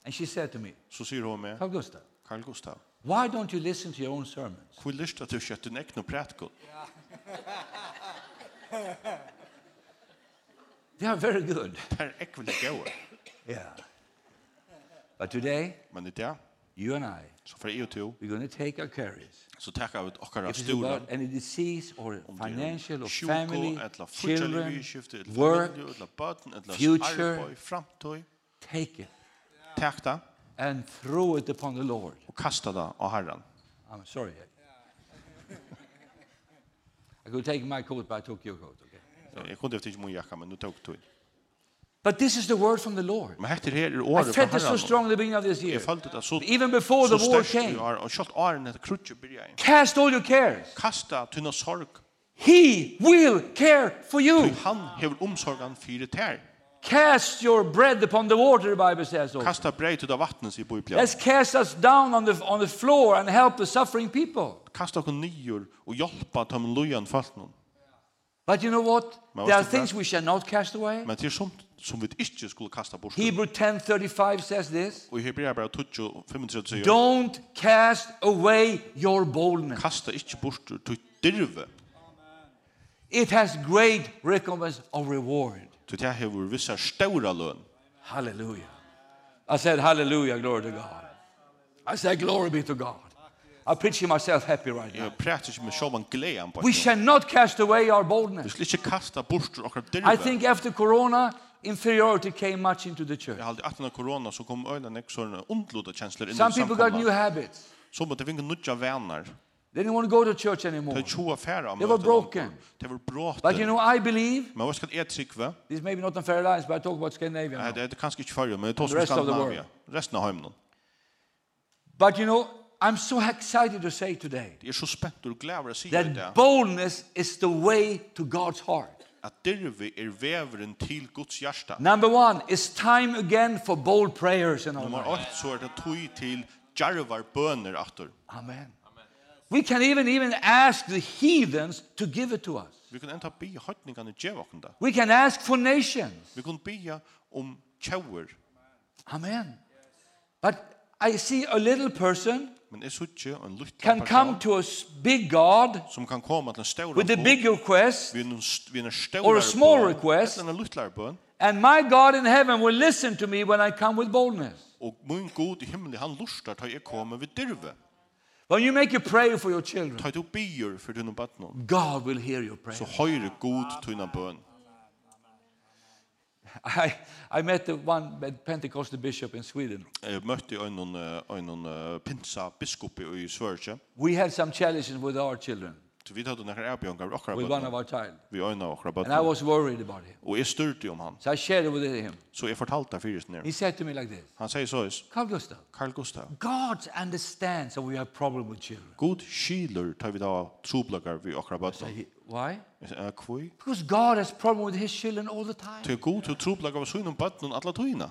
B: and she said to me,
C: så sier hun med
B: Carl Gustav,
C: Carl Gustav,
B: why don't you listen to your own sermons?
C: hvor lyst at du kjøtt din ekne prætkot?
B: They are very good.
C: Det er ekvelig gauer.
B: Yeah. But today,
C: Men i det,
B: you and I,
C: Så for EU to,
B: we're going to take our carries.
C: så tackar vi okkara
B: If it's about
C: stora
B: any disease or
C: er
B: financial or
C: sjuko,
B: family,
C: etla futjali
B: children,
C: vidskifte, etla
B: work,
C: familju, etla button, etla
B: future.
C: arbeid, framtøy.
B: take it
C: Takk det,
B: and throw it upon the Lord.
C: og kasta det av herran.
B: I'm sorry. I could take my coat, but I took your coat. Okay.
C: Jeg kunne efter ikke mun jakka, men nu tok tog.
B: But this is the word from the Lord.
C: Men hektir her er
B: I
C: året fra
B: felt it so
C: herran.
B: strong in the beginning of this year.
C: Jeg følte det så,
B: Even before
C: så
B: the war
C: sterkt vi
B: came.
C: har, og kjalt åren etter krutje byrja inn.
B: Cast all your cares.
C: Kasta tunna sorg,
B: He will care for
C: Ty
B: you.
C: han hever omsorgan fyrir tær.
B: Cast your bread upon the water, the Bible says. Also.
C: Kasta brei til det vattnet, sier Bibelen.
B: Let's cast us down on the, on the floor and help the suffering people.
C: Kasta okkur nýjur og hjálpa tømmen lujan faltnum.
B: But you know what?
C: Men
B: There are
C: what's the
B: things we shall not cast away.
C: Men til sumt som vi ikke skulle kasta bort.
B: Hebrew 10:35 says this.
C: Og i Hebrea bara 12, 35 sier,
B: Don't cast away your boldness.
C: kasta ikke bort til dirve.
B: It has great recompense of reward.
C: Til det hever vissa staura løn.
B: Hallelujah. I said hallelujah, glory to God. I said glory be to God. I'm preaching myself happy right now.
C: Jeg præter ikke med sjåvan glean på.
B: We shall not cast away our
C: Vi
B: boldness.
C: skal ikke kasta bort okkar dirve.
B: I think after corona, inferiority came much into the church.
C: Jeg halde etter korona så kom øyne nek sånne ondlodde kjensler inn i
B: Some people got new
C: samkomna.
B: habits.
C: Så måtte vi ikke nudja venar.
B: They didn't want to go to church anymore.
C: Det er tjoa færa
B: They were broken.
C: Det var bråten.
B: But you know, I believe,
C: er Men vad ska jag trycka?
B: this may be not on fair lines, but I talk about Scandinavia
C: Nej,
B: now.
C: det är kanske inte förr, men det tar
B: The
C: som
B: rest of the
C: Skandinavien. Resten av hemmen.
B: But you know, I'm so excited to say today
C: Det är så spänt och glädje att säga det.
B: that boldness is the way to God's heart.
C: Att dirvi är väveren till Guds hjärta.
B: Number one, it's time again for bold prayers in our
C: Nummer
B: life.
C: 8 så är det tog till djärvar böner efter.
B: Amen. We can even even ask the heathens to give it to us.
C: Vi kan ända be höjningarna i djävaken där.
B: We can ask for nations.
C: Vi kan be om tjäver.
B: Amen. But I see a little person
C: Men är så inte en liten
B: can come
C: person
B: to a s- big God
C: som kan komma till en stor
B: with a big request,
C: vid en, er st- vid en stor
B: Or a small request.
C: Eller en liten bön.
B: and my God in heaven will listen to me when I come with boldness.
C: Och min god i himlen, han lustar att jag kommer vid dirve.
B: When you make a prayer for your children,
C: Ta du bier för dina bötnor.
B: God will hear your prayer.
C: Så høyre god tøyna bøn.
B: I, I met the one Pentecostal bishop in Sweden.
C: Jeg møtte en, en, en pinsa biskop i Sverige.
B: We had some challenges with our children,
C: Så vi tatt noen erbjørnger av okkara
B: with one
C: bøtnor.
B: of our child,
C: Vi øyna okkara
B: and I
C: bøtnor.
B: was worried about him.
C: Og jeg styrte om han.
B: So I shared it with him.
C: Så jeg fortalte det fyrir
B: He
C: nere.
B: said to me like this,
C: Han sier så,
B: Carl Gustav,
C: Carl Gustav,
B: God understands that we have problem with children.
C: god skiler tar vi da troblagar vi okkara
B: So
C: bøtnor.
B: he, why?
C: Jeg sier, kvoi?
B: Because God has problem with his children all the time.
C: Til god til troblagar vi søgnum bøtnor alla tøyna.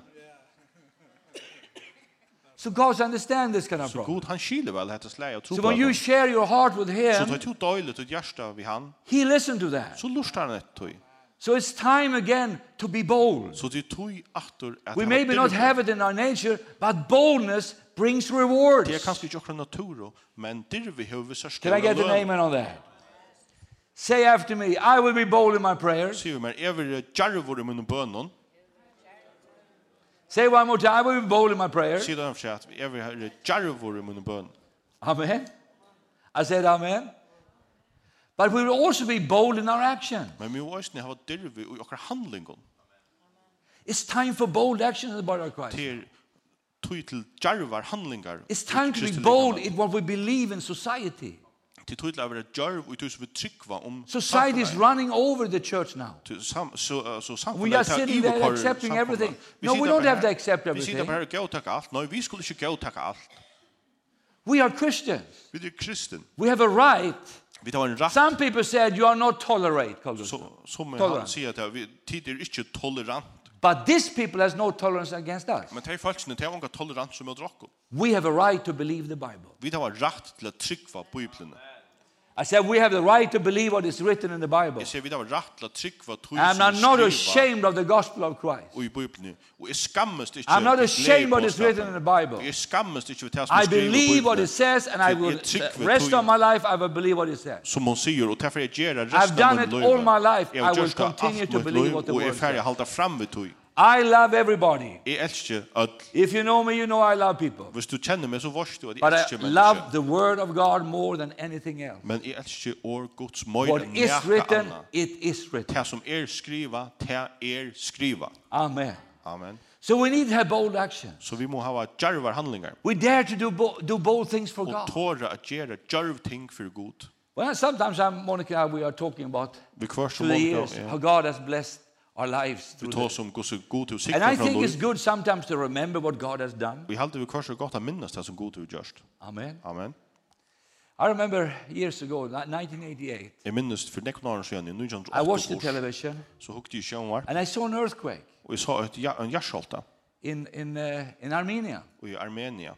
B: So God understands this kind of problem.
C: God, han skiler vel hette slei av
B: So when you
C: troblagar.
B: share your heart with
C: Så
B: him,
C: tar du døylet ut hjärsta vi han,
B: he listens to that.
C: så lustar han et tøy.
B: So it's time again to be bold.
C: Så det er tøy aftur at er
B: We
C: hava
B: maybe not
C: dirvi.
B: have it in our nature, but boldness brings
C: Det er
B: rewards.
C: kanskje ikke akkurat natur, men dirvi har vi sørste
B: Can I get an amen on that? Say after me, I will be bold in my prayers.
C: Sier vi mer, jeg vil djarvor i munnen bønnen.
B: Say one more time, I will be bold in my prayers.
C: Sier det for seg at jeg vil djarvor i munnen bønnen.
B: Amen. I said amen. But we will also be bold in our action.
C: Men vi må også ha dirvi i akkurat handlingen.
B: It's time for bold action in the body of Christ.
C: Til tog til djarvar handlingar.
B: It's time
C: i
B: to be
C: Kristi
B: bold
C: liv.
B: in what we believe in society.
C: Til tog til å være djarv og tog som vi tryggva om
B: Society is
C: samfunnet.
B: running over the church now.
C: Til sam- Så uh, så samfunnet
B: We are
C: tar
B: sitting there
C: iverkar
B: accepting
C: samfunnet.
B: everything.
C: Vi
B: No, we
C: sitter
B: don't
C: bare
B: have to
C: her.
B: accept
C: Vi
B: everything.
C: sitter bare her og gautak alt. Nei, vi skulle ikke gautak alt.
B: We are Christians.
C: Vi er kristen.
B: We have a right.
C: Vi tar en rakt.
B: Some people said you are not tolerate, Carl Gustaf.
C: Så- Som han
B: Tolerant.
C: sier at vi tid er ikke tolerant.
B: But these people has no tolerance against us.
C: Men det er faktisk det er unga tolerans som er drakko.
B: We have a right to believe the Bible.
C: Vi tar rett til å tryggva Bibelen.
B: I said we have the right to believe what is written in the Bible.
C: Jeg sier vi tar rett til å tryggva tog
B: And I'm not
C: som
B: ashamed of the gospel of Christ.
C: og i Bibelen. Og jeg skammest ikke.
B: I'm not
C: til
B: ashamed what is
C: gledebåskapen.
B: written in the Bible.
C: Jeg skammest ikke til det som
B: I
C: er skrivet i
B: believe what
C: Bibelen.
B: it says and I
C: Til-
B: will
C: jeg trykker
B: the
C: ved
B: rest
C: tog-
B: of my life I will believe what it says.
C: Som hon sier, og derfor jeg gjør det
B: I've
C: resten av
B: done
C: mitt
B: it
C: liv.
B: all my life.
C: Jeg har
B: I will
C: gjort det
B: continue
C: alt
B: to
C: mitt
B: believe
C: liv,
B: what the
C: og jeg er
B: word
C: ferdig
B: says.
C: halda fram ved tog.
B: I love everybody.
C: Jeg elsker öll.
B: If you know me, you know I love people.
C: Hvis du kjenner meg, så varst du at jeg
B: But I
C: elsker
B: love
C: mennesker.
B: the word of God more than anything else.
C: Men jeg elsker år Guds møyre
B: What is written, it is written.
C: Det som er skriva, det er skriva.
B: Amen.
C: Amen.
B: So we need to have bold action.
C: Så vi må hava djarvar handlingar.
B: We dare to do, bo- do bold things for
C: Og
B: Oh God.
C: tåra at gjøre djarv ting for god.
B: Well, sometimes I'm, Monica and I, we are talking about
C: Vi kvar så
B: through the
C: många.
B: years how
C: ja.
B: God has blessed our lives
C: Vi
B: through
C: tar
B: this.
C: som god god til
B: And I
C: sikten fra
B: think it's
C: lov.
B: good sometimes to remember what God has done.
C: Vi halter vi kvar så godt at minnes det som god til gjørst.
B: Amen.
C: Amen.
B: I remember years ago, like 1988,
C: Jeg minnes for nekken år siden, i
B: I watched the
C: 1908 år,
B: television
C: så hukte jeg sjøen var,
B: and I saw an earthquake
C: og jeg sa et, ja- en jarsholta
B: in, in, uh, in Armenia.
C: i Armenia.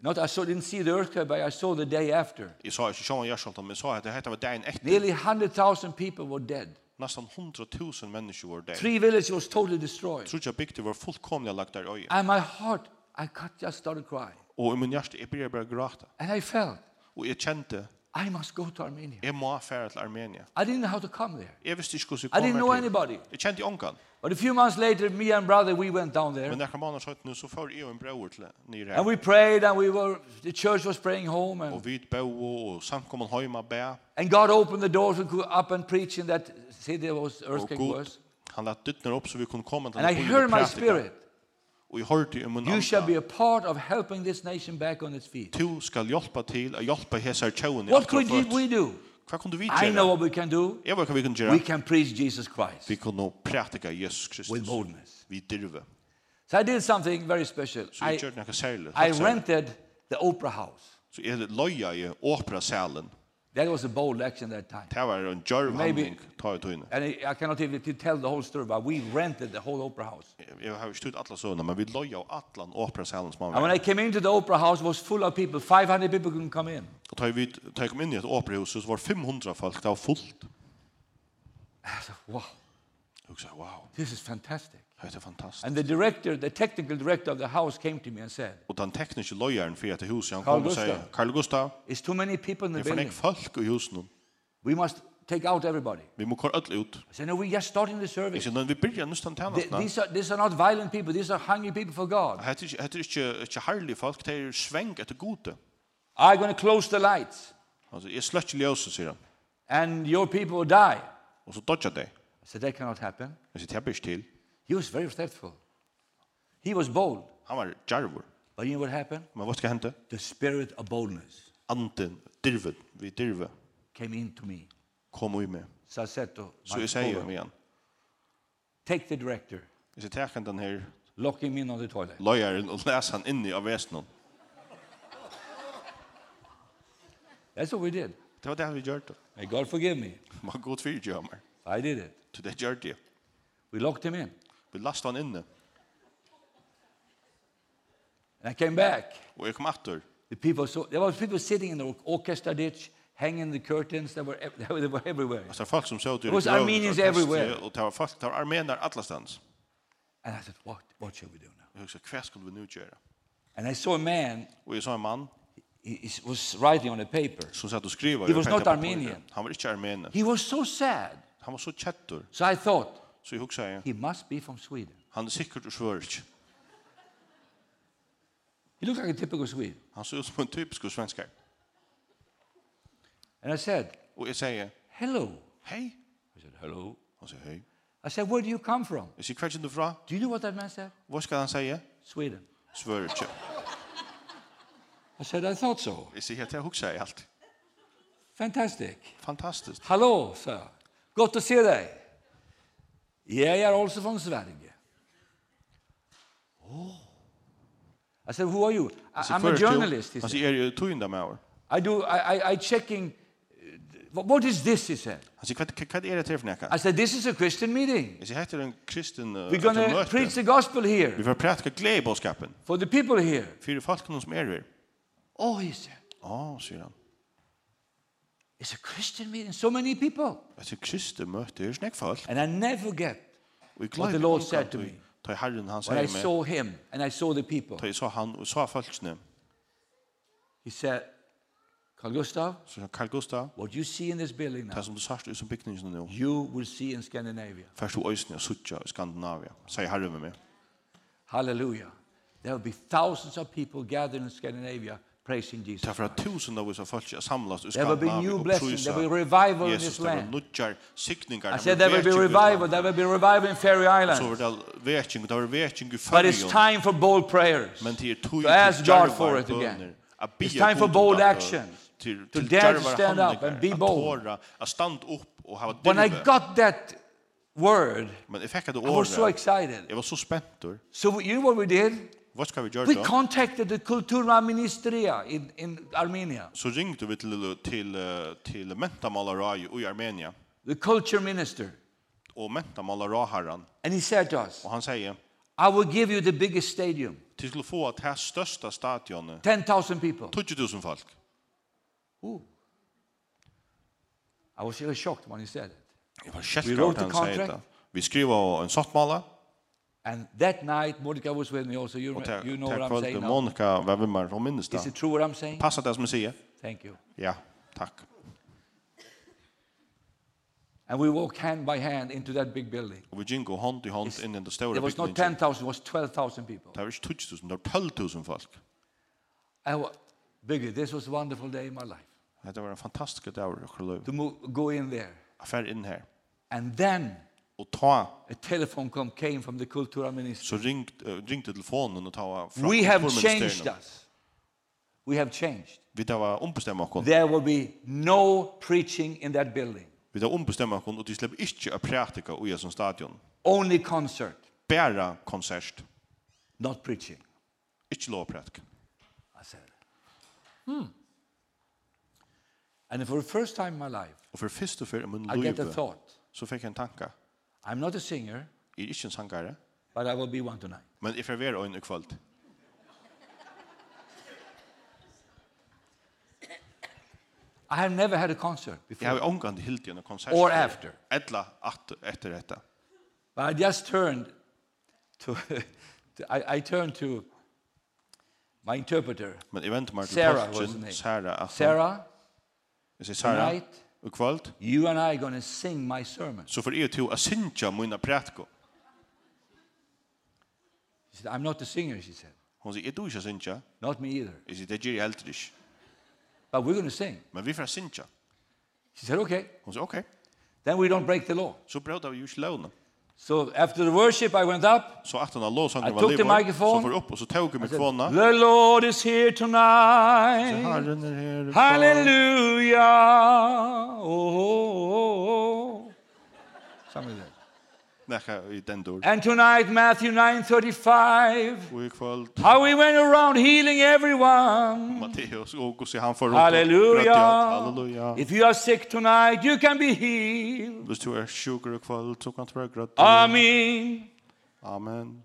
B: Not I saw, didn't see the earthquake, but I saw the day after.
C: Jeg sa ikke sjøen var jarsholta, men jeg sa at det hette var dagen etter.
B: Nearly 100,000 people were dead.
C: Nästan 100.000 mennesker var der.
B: Three villages was totally destroyed.
C: Trudja bygde var fullkomlig lagt der i øye.
B: And my heart, I cut- just started crying.
C: Og i min hjerte, jeg begynte bare å gråte.
B: And I felt,
C: Og jeg kjente,
B: I must go to Armenia.
C: jeg må fære til Armenia.
B: I didn't know how to come there.
C: Jeg visste ikke hvordan jeg
B: I didn't
C: her
B: know
C: til.
B: anybody.
C: Jeg kjente ongan.
B: But a few months later, me and brother, we went down there.
C: Men nekker mannen sa nu så får jeg og en bror til nye
B: And
C: her.
B: we prayed and we were, the church was praying home.
C: Og
B: And,
C: vi bo og samkommen hjemme bæ.
B: and God opened the doors and go up and preach in that city that was
C: Og
B: earthquake
C: god,
B: was.
C: han lät dyttner opp så vi kunne komme til
B: And I
C: den byen
B: heard in
C: og
B: my
C: prædika.
B: spirit,
C: Og jeg hørte i min
B: you shall be
C: ånda.
B: a part of helping this nation back on its feet.
C: Du skal hjelpe til å hjelpe hese her tjøvene.
B: What could we do?
C: Hva kunne vi
B: I know
C: gjøre?
B: what we can do.
C: Jeg vet hva vi kunne
B: We
C: gjøre.
B: can preach Jesus Christ
C: Vi kunne prædika Jesus
B: with
C: Kristus.
B: boldness.
C: Vi dirve.
B: So I did something very special.
C: Så
B: I,
C: jeg gjør noe særlig.
B: I
C: helt særlig.
B: rented the opera house.
C: Så er det løya i operasalen.
B: That was a bold action that time.
C: Det var en djørv
B: Maybe-
C: handling, ta i tøyne.
B: And I- I cannot even to tell the whole story, but we rented the whole opera house.
C: Jeg har jo stutt alle søvnene, men vi løya av atlan operasalen som han
B: And when I
C: var.
B: came into the opera house, it was full of people. 500 people couldn't come in.
C: Og da vi da jeg kom inn i et operahus, så var 500 folk, det var fullt.
B: I said, wow,
C: Og jeg sa, wow,
B: this is fantastic.
C: det er fantastisk.
B: And the director, the technical director of the house came to me and said,
C: Og den tekniske løyeren for etter huset, han
B: Carl
C: kom og sier,
B: Gustav.
C: Carl Gustav,
B: it's too many people in the
C: det er for
B: building.
C: nek folk i huset nå.
B: We must take out everybody.
C: Vi må kåre ødel ut.
B: I said, no, we're just starting the
C: Jeg
B: service.
C: sier, men vi byrjar nøstan
B: Th-
C: tjenestene.
B: These are, these are not violent people. These are hungry people for God.
C: Hette er ikke, ikke, ikke herlige folk, det er sveng etter gode.
B: I'm going to close the lights
C: Altså, jeg slett ikke ljøse, sier han.
B: and your people will die. I
C: Og så dodger jeg det.
B: said, that cannot happen.
C: Jeg sier, jeg blir ikke til.
B: He was very respectful. He was bold.
C: Han var djarvor.
B: But you know what happened?
C: Men hva skal hente?
B: The spirit of boldness
C: Anden, dirven, vi dirve,
B: came into me.
C: kom i med.
B: Så jag said to
C: Så
B: my
C: jeg sier
B: follower,
C: med igjen.
B: take the director,
C: Jeg sier, tek han den her
B: lock him in on the toilet.
C: løyeren og les han inni av vesenen.
B: That's what we did.
C: Det var det vi gjør det.
B: May God forgive me.
C: Man går tvir gjør meg.
B: I did it.
C: Så det gjør det.
B: We locked him in.
C: Vi lasta han inne.
B: And I came back.
C: Og jeg kom atter.
B: The people saw, there were people sitting in the or- orchestra ditch, hanging the curtains. They were, ev- they were everywhere.
C: Altså, det var folk som så ut i
B: It was
C: røven,
B: Armenians
C: det var fest,
B: everywhere.
C: Og det var folk, det var armener atlastands.
B: And I said, what, what shall we do now?
C: Jeg husker, hva skulle vi nu gjøre?
B: And I saw a man,
C: Og jeg så en mann
B: he, he was writing on a paper.
C: som satt og skriva.
B: He
C: og
B: was
C: pekka
B: not
C: på
B: Armenian.
C: bordet. Han var ikke armener.
B: He was so sad.
C: Han var så kjettur.
B: So I thought,
C: Så jeg husker,
B: he must be from Sweden.
C: han er sikkert og svørt.
B: He looked like a typical Swede.
C: Han så ut som en typisk svenskar.
B: And I said,
C: Og jeg sier,
B: hello.
C: hei.
B: I said, hello.
C: Han sier, hei.
B: I said, where do you come from?
C: Jeg sier, hva er du fra?
B: Do you know what that man said?
C: Hva skal han säga?
B: Sweden.
C: Svör inte.
B: I said, I thought so.
C: Jag ser helt jag huxar i er allt.
B: Fantastic.
C: Fantastiskt.
B: Hallå, sa jag. Gott att se dig. Jag är också från Sverige. Oh. I said, who are you? I, I'm a journalist, he
C: Han
B: said.
C: säger, är ju tunda med år.
B: I do, I, I, I checking, uh, what what is this, he said.
C: Han säger, vad vad är det till för näka?
B: I said, this is a Christian meeting.
C: Jag säger, heter en kristen eh,
B: We're going
C: ett
B: to
C: möte.
B: preach the gospel
C: Vi
B: here
C: får prata glädjebåskapen.
B: for the people here.
C: För folken som är här.
B: Oh, he said,
C: Ja, säger han.
B: it's a Christian meeting, so many people.
C: Jag säger, kristen möte, det är snäck folk.
B: And I never forget
C: Och i
B: What the Lord said to me.
C: Ta i herren han
B: when I
C: säger mig.
B: saw him and I saw the people.
C: Ta i så han och så folkene.
B: He said, Carl Gustav,
C: Så som Carl Gustav,
B: what you see in this building now,
C: det som du sørst ut som bygningen nå,
B: you will see in Scandinavia.
C: først du øyne og suttja i Skandinavia, sier herre med meg.
B: Hallelujah. There will be thousands of people gathered in Scandinavia praising Jesus.
C: Derfor er at tusen av oss av folk er samlet i
B: There will be new
C: Skandinavia og
B: blessing.
C: prøysa
B: There will be revival in
C: Jesus,
B: this
C: det vil
B: land.
C: nudjar sikningar.
B: I said there will be revival. There will be revival in Faroe
C: Så
B: Islands.
C: var det vekking, det var vekking i
B: But it's
C: fyrjon.
B: time for bold prayers.
C: Men er det är tur
B: To ask God for it again. It's time for bold action. To dare to stand up and be bold.
C: Att stand upp och ha
B: When I
C: dyrve.
B: got that word,
C: Men jag fick det
B: I was so
C: ordet.
B: excited.
C: Jag var så spänt då.
B: So you know what we did?
C: Vad ska vi göra
B: We
C: då?
B: contacted the Kultura Ministria in, in Armenia,
C: Så ringde vi till till eh, till Mentamalaraj i Armenien
B: the culture minister.
C: och Mentamalajarherren
B: And he said to us,
C: och han säger
B: I will give you the biggest stadium,
C: till skulle få att här största stadion
B: 10,000 people.
C: 20000 folk.
B: Ooh. I was really shocked when he said it.
C: Jag var
B: We
C: skälkad
B: wrote
C: att
B: the
C: han säger
B: contract.
C: det. Vi skrev av en sottmala
B: And that night, Mordecai was with me also. You,
C: och tack
B: you know what I'm
C: kvällen
B: saying now.
C: Monica var med mig från
B: Is
C: minnes det.
B: it true what I'm saying?
C: Passar det som jag säger?
B: Thank you.
C: Ja, tack.
B: And we walked hand by hand into that big building.
C: Og vi gingo hand i hand inn i den store
B: There was not
C: bygningin.
B: 10,000, it was 12,000 people.
C: Det er var ikke 2000, det var 12.000 folk.
B: I wa- Biggie, this was a wonderful day in my life.
C: Dette var en fantastisk dag i okkur løy.
B: To move, go in there.
C: Affær inn her.
B: And then
C: Og ta,
B: a telephone come, came from the Kultura Ministry.
C: så ringt, eh, ringte telefonen og ta av fra
B: We have
C: kulturministeriet.
B: changed us. We have changed.
C: Vi tar av ombestemma okkur.
B: There will be no preaching in that building,
C: Vi tar ombestemma okkur, og de slipper ikke å prætika ui som stadion.
B: only concert,
C: Bæra konsert.
B: not preaching.
C: Ikke lov å prætika.
B: I said. Hmm. And for the first time in my life,
C: Og for fyrst og fyrir mun
B: I get a
C: løyve,
B: thought.
C: så fikk jeg en tanka.
B: I'm not a singer,
C: Jeg er ikke en sangare,
B: but I will be one tonight.
C: men jeg får være øyne i kvöld.
B: I have never had a concert
C: Jeg
B: before,
C: har omgående hilt i en konsert.
B: Or after.
C: Etla at, etter dette.
B: but I just turned to, to I, I turned to my interpreter,
C: Men jeg venter meg til
B: Sarah was the
C: tolken,
B: name.
C: Sarah. at-
B: Sarah.
C: Jeg sier Sara,
B: Tonight.
C: og kvöld,
B: You and I are going to sing my sermon.
C: så får jeg til å synge mine prætko.
B: She said, I'm not a singer, she said.
C: Hun sier, jeg tror ikke å synge.
B: Not me either.
C: Jeg sier, det gjør jeg heller ikke.
B: But we're going to sing.
C: Men vi får synge.
B: She said, okay.
C: Hun sier, ok,
B: Then we don't break the law.
C: så brød vi jo ikke lovene.
B: So after the worship, I went up
C: Så at han har lovsangen
B: I
C: var
B: took the
C: livor, så
B: microphone.
C: får jeg opp, og så tar jeg
B: I said,
C: mikrofonen.
B: The Lord is here
C: Så
B: tonight.
C: Herren er her. i kvöld.
B: Hallelujah. Oh, oh, oh. Something like that.
C: Nekka i den dør.
B: And tonight, Matthew 9:35.
C: Og i kvöld,
B: How we went around healing everyone.
C: Matteus og Gussi, han får opp. og brøt i alt.
B: Hallelujah.
C: Halleluja.
B: If you are sick tonight, you can be healed.
C: Hvis du er sjukker i kvöld, så kan du være grøtt.
B: Amen.
C: Amen.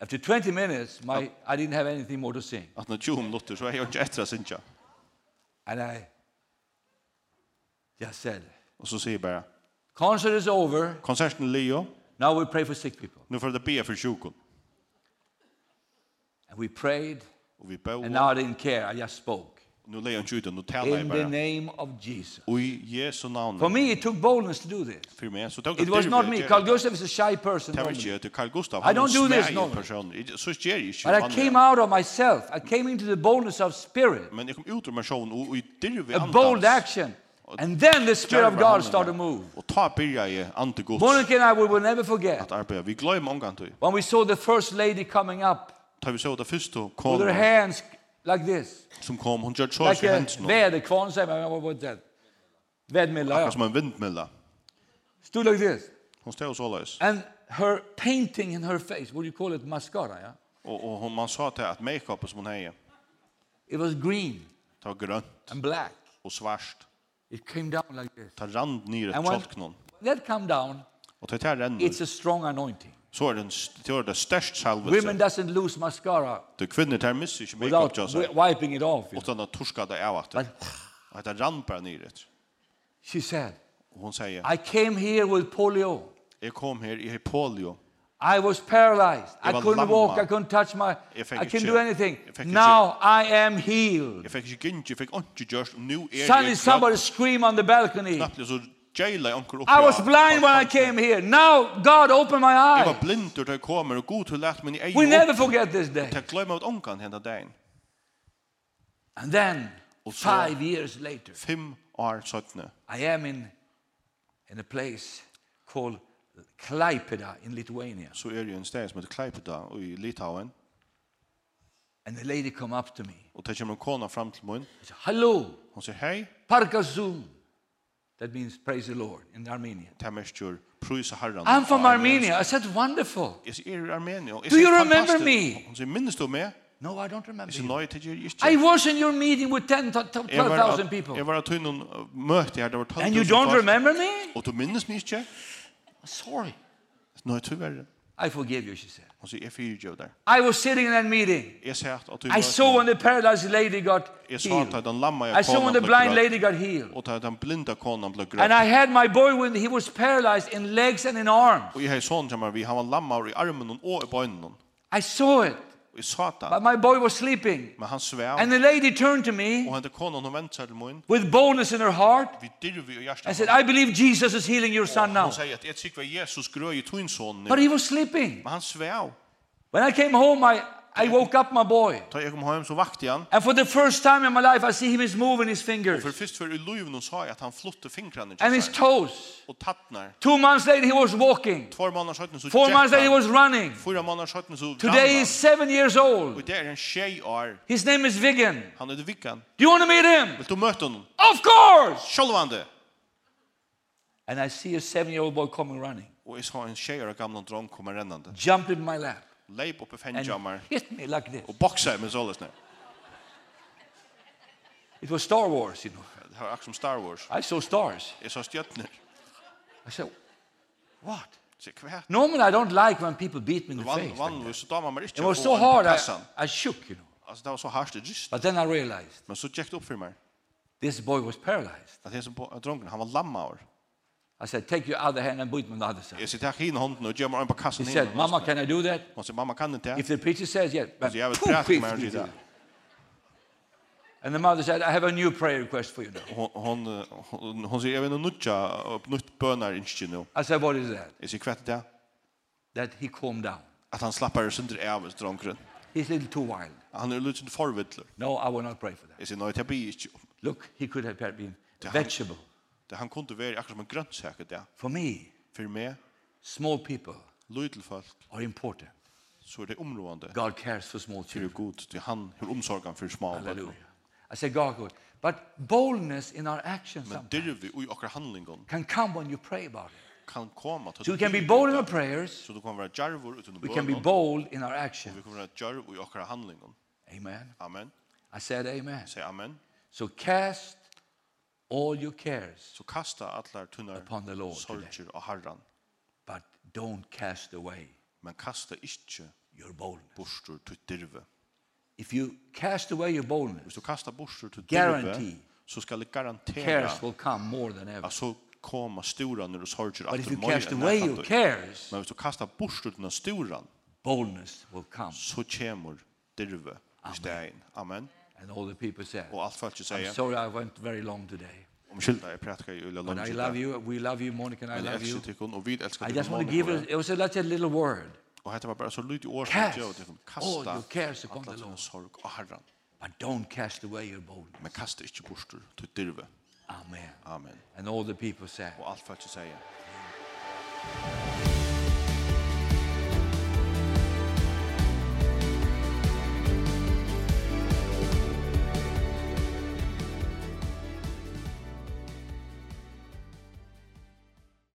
B: After 20 minutes, my, I didn't have anything more to sing.
C: At når 20 minutter, så er jeg ikke etter å synge.
B: And I just said,
C: Og så sier jeg bare,
B: Concert is over.
C: konserten Leo,
B: Now we pray for sick people.
C: nu får det be for sjukken.
B: And we prayed,
C: Og vi bøv,
B: and now I didn't care. I just spoke.
C: nu leier han ikke ut, nu taler jeg
B: In the
C: bare.
B: name of Jesus.
C: Og i Jesu navn,
B: For me, it took boldness to do this.
C: for meg, så tok
B: It was not me. Carl Gustav is a shy person.
C: Det var
B: normally.
C: ikke, det er Carl Gustav,
B: I
C: han er
B: don't do this
C: smeg
B: normally.
C: person. I- Så skjer jeg ikke,
B: But I
C: vanlig.
B: came out of myself. I came into the boldness of spirit,
C: er. Men jeg kom ut ur personen, og i dirve
B: a bold action. And then the Spirit of God started to move.
C: Og ta byrja i ante Guds,
B: Monica and I we will never forget
C: at arbeid. Vi gløy mange ganger,
B: when we saw the first lady coming up
C: tar vi så det første
B: with her
C: konen
B: hands like this,
C: som kom, hun gjør så
B: like
C: ikke
B: a
C: hendt noe.
B: väderkvarn, säger man. What was that? Vädermilla,
C: Akkurat
B: ja.
C: som en vindmilla.
B: Stood like this.
C: Hun stod så løs.
B: And her painting in her face, what do you call it, mascara, yeah?
C: Og, og hun, man sa til at make-upet som hun heier,
B: It was green
C: det var grønt
B: and black.
C: og svart.
B: It came down like this.
C: Ta rand nere
B: And when
C: tjolknon.
B: that come down,
C: Og ta her renner,
B: it's a strong anointing.
C: så er den st- det er det størst
B: Women
C: salvelse.
B: doesn't lose mascara
C: Du kvinner tar misse ikke make-up
B: without
C: just
B: wi- wiping it off. you know.
C: utan att torska det av att.
B: But
C: Att det rann bara ner det.
B: she said,
C: Och hon säger,
B: I came here with polio.
C: jag kom här, jag har polio.
B: I was paralyzed. I
C: var
B: couldn't walk.
C: lammad.
B: I couldn't touch my.
C: Jeg fikk
B: I couldn't
C: ikke-
B: do anything.
C: jeg fikk ikke-
B: Now I am healed.
C: Jeg fikk ikke gynnsi, jeg fikk ikke gjørst, og nå er
B: Suddenly
C: jeg
B: somebody screamed on the balcony.
C: knapplig, så jaila jeg onker opp.
B: I was blind when I came here. Now God opened my
C: Jeg var
B: eyes.
C: blindur da jeg kommer, og god til lært min i
B: We
C: egen
B: never forget this day.
C: Jeg glemmer at onkan henda dagen.
B: And then
C: Och så-
B: five years later,
C: Fem år søttene.
B: I am in in a place called Klaipeda in Lithuania.
C: Så er jeg en sted som heter Kleipeda og i Litauen.
B: And the lady come up to me.
C: Og det kommer en kona fram til min.
B: She said, "Hello,
C: Hun sier, hei,
B: Parkasum." That means praise the Lord in Armenian.
C: det er mest jo prøysa herran.
B: I'm from
C: Og
B: Armenia. I said, "Wonderful."
C: Jeg sier, er i Armenia.
B: Do you remember me?
C: Hun sier, minnes du meg?
B: No, I don't remember.
C: Jeg sier,
B: you.
C: nei, det gjør jeg ikke.
B: I was in your meeting with 10 to
C: Jeg var
B: 12,000
C: at-
B: people.
C: Jeg var at hun noen møte her, det var 12
B: And you don't remember me?
C: Og du minnes meg ikke?
B: Sorry.
C: Nei, tyverre.
B: I forgive you, she said.
C: Hun sier, jeg fyrir jo der.
B: I was sitting in that meeting.
C: Jeg sier at du
B: I saw when the paralyzed lady got
C: Jeg sa
B: healed.
C: at den lamma
B: I
C: jeg
B: saw when the
C: ble
B: blind
C: grøt,
B: lady got healed.
C: Og at den blinda konan ble grøt.
B: And I had my boy when he was paralyzed in legs and in arms.
C: Og jeg har sånn som vi har lammer i armen og i bøynen.
B: I saw it.
C: Og jeg sa det.
B: But my boy was sleeping.
C: Men han svev.
B: And the lady turned to
C: Og
B: me
C: henne konan hun vente seg til mun.
B: with boldness in her heart
C: Vi dirvi og hjertet.
B: and said, I believe Jesus is healing your son now.
C: Hun sier at jeg tykker Jesus grøy i tvinnsonen.
B: But he was sleeping.
C: Men han svev.
B: When I came home, I, I woke up my boy.
C: Da jeg kom hjem så vakte jeg han.
B: And for the first time in my life, I see him is moving his fingers
C: For først for i luven hun sa jeg at han flutte fingrene
B: and
C: til
B: his
C: seg.
B: toes.
C: Og tattnar.
B: Two months later, he was walking.
C: Två månader sjøtten så
B: Four months later, he
C: han.
B: was running.
C: Fyra månader sjøtten så rann
B: Today
C: han.
B: he's seven years old.
C: Og det er en tjej år.
B: His name is Vigan.
C: Han er det vikkan.
B: Do you want to meet him?
C: Vil du møte honom?
B: Of course!
C: Sjølvande!
B: And I see a seven-year-old boy coming running,
C: Og jeg sa en tjej år gamla drong kommer rennande.
B: jump in my lap,
C: Leip oppe
B: and
C: fenjammar.
B: hit me like this.
C: Og boksa med sålesne.
B: It was Star Wars, you know.
C: Det var akkurat som er Star Wars.
B: I saw stars.
C: Jeg sa stjøtner.
B: I said, what?
C: Så kvært.
B: Normally, I don't like when people beat me in the
C: Vann
B: face. like
C: vann
B: that.
C: vi så damer man ikke.
B: It was
C: få
B: so
C: en
B: hard, I,
C: kassan.
B: I shook, you know.
C: Alltså det var så hardt det just.
B: But then I realized
C: Men så tjekkt upp för mig
B: this boy was paralyzed.
C: att det som på dronken han var lammaur.
B: I said, take your other hand and beat me on the other side.
C: Jag sitter här i handen och gömmer en på
B: He
C: kassan
B: said, Mama, can I do that?
C: Hon säger mamma kan inte.
B: If the preacher says yes, but
C: Så jag vet
B: poof,
C: prat
B: please,
C: med
B: you
C: dig
B: do
C: där.
B: it. And the mother said, I have a new prayer request for you now.
C: Hon hon eh, hon- hon säger jag vet inte nutcha upp nytt bönar inte nu.
B: I said, what is that?
C: Jag säger kvärt det
B: That he calmed down.
C: att han slappar sönder av dronken.
B: He's a little too wild.
C: Han är lite förvittler.
B: No, I will not pray for that.
C: Jag säger nej det blir inte.
B: Look, he could have been
C: Det han-
B: vegetable.
C: Det han kunde vara akkurat som en grönsak det.
B: For me,
C: För mig
B: small people
C: lite folk
B: are important.
C: så är det områdande.
B: God cares for small
C: Det är
B: children.
C: god till han hur omsorgen för små. barn.
B: Hallelujah. I said, God, good. But boldness in our actions
C: Men
B: sometimes
C: dirvi och i akkurat handlingen
B: can come when you pray about it.
C: kan komma till
B: So we can be bold in our prayers.
C: Så du kommer vara djärvor utan
B: We can be
C: bönan.
B: bold in our
C: Vi
B: actions.
C: kommer vara djärvor i akra handlingen.
B: Amen.
C: Amen.
B: I said, Amen.
C: Säg amen.
B: So cast all your cares,
C: Så kasta alla
B: Upon the
C: tunnar
B: Lord
C: sorger och harran.
B: but don't cast away
C: Men kasta inte
B: your boldness.
C: borstor till dirve.
B: If you cast away your
C: Hvis
B: boldness,
C: du kastar borstor till
B: Guarantee.
C: dirve så ska det
B: cares
C: garantera
B: will come more than ever.
C: att så komma stora när du sorger
B: But
C: att
B: if
C: du
B: you cast away your
C: mår.
B: cares,
C: Men hvis du kastar borstor till stora
B: boldness will come.
C: så kommer dirve i stegen. Amen.
B: And all the people said,
C: Och allt fallet
B: I'm
C: säger
B: sorry I went very long today.
C: om skylda jag pratar ju eller
B: But I love
C: lunch.
B: you. We love you, Monica, and I
C: Men jag
B: love you.
C: älskar tyckon och vid älskar
B: I just want to give it, it was like a little word,
C: Och hette var bara så lite år
B: Cast
C: jag tyckon
B: all
C: kasta.
B: your cares upon
C: alla
B: the
C: sina
B: Lord.
C: sorg och harran.
B: but don't cast away your boldness.
C: Men kasta inte bostur till dirve.
B: Amen.
C: Amen.
B: And all the people said,
C: Och allt för att säga.
E: Thank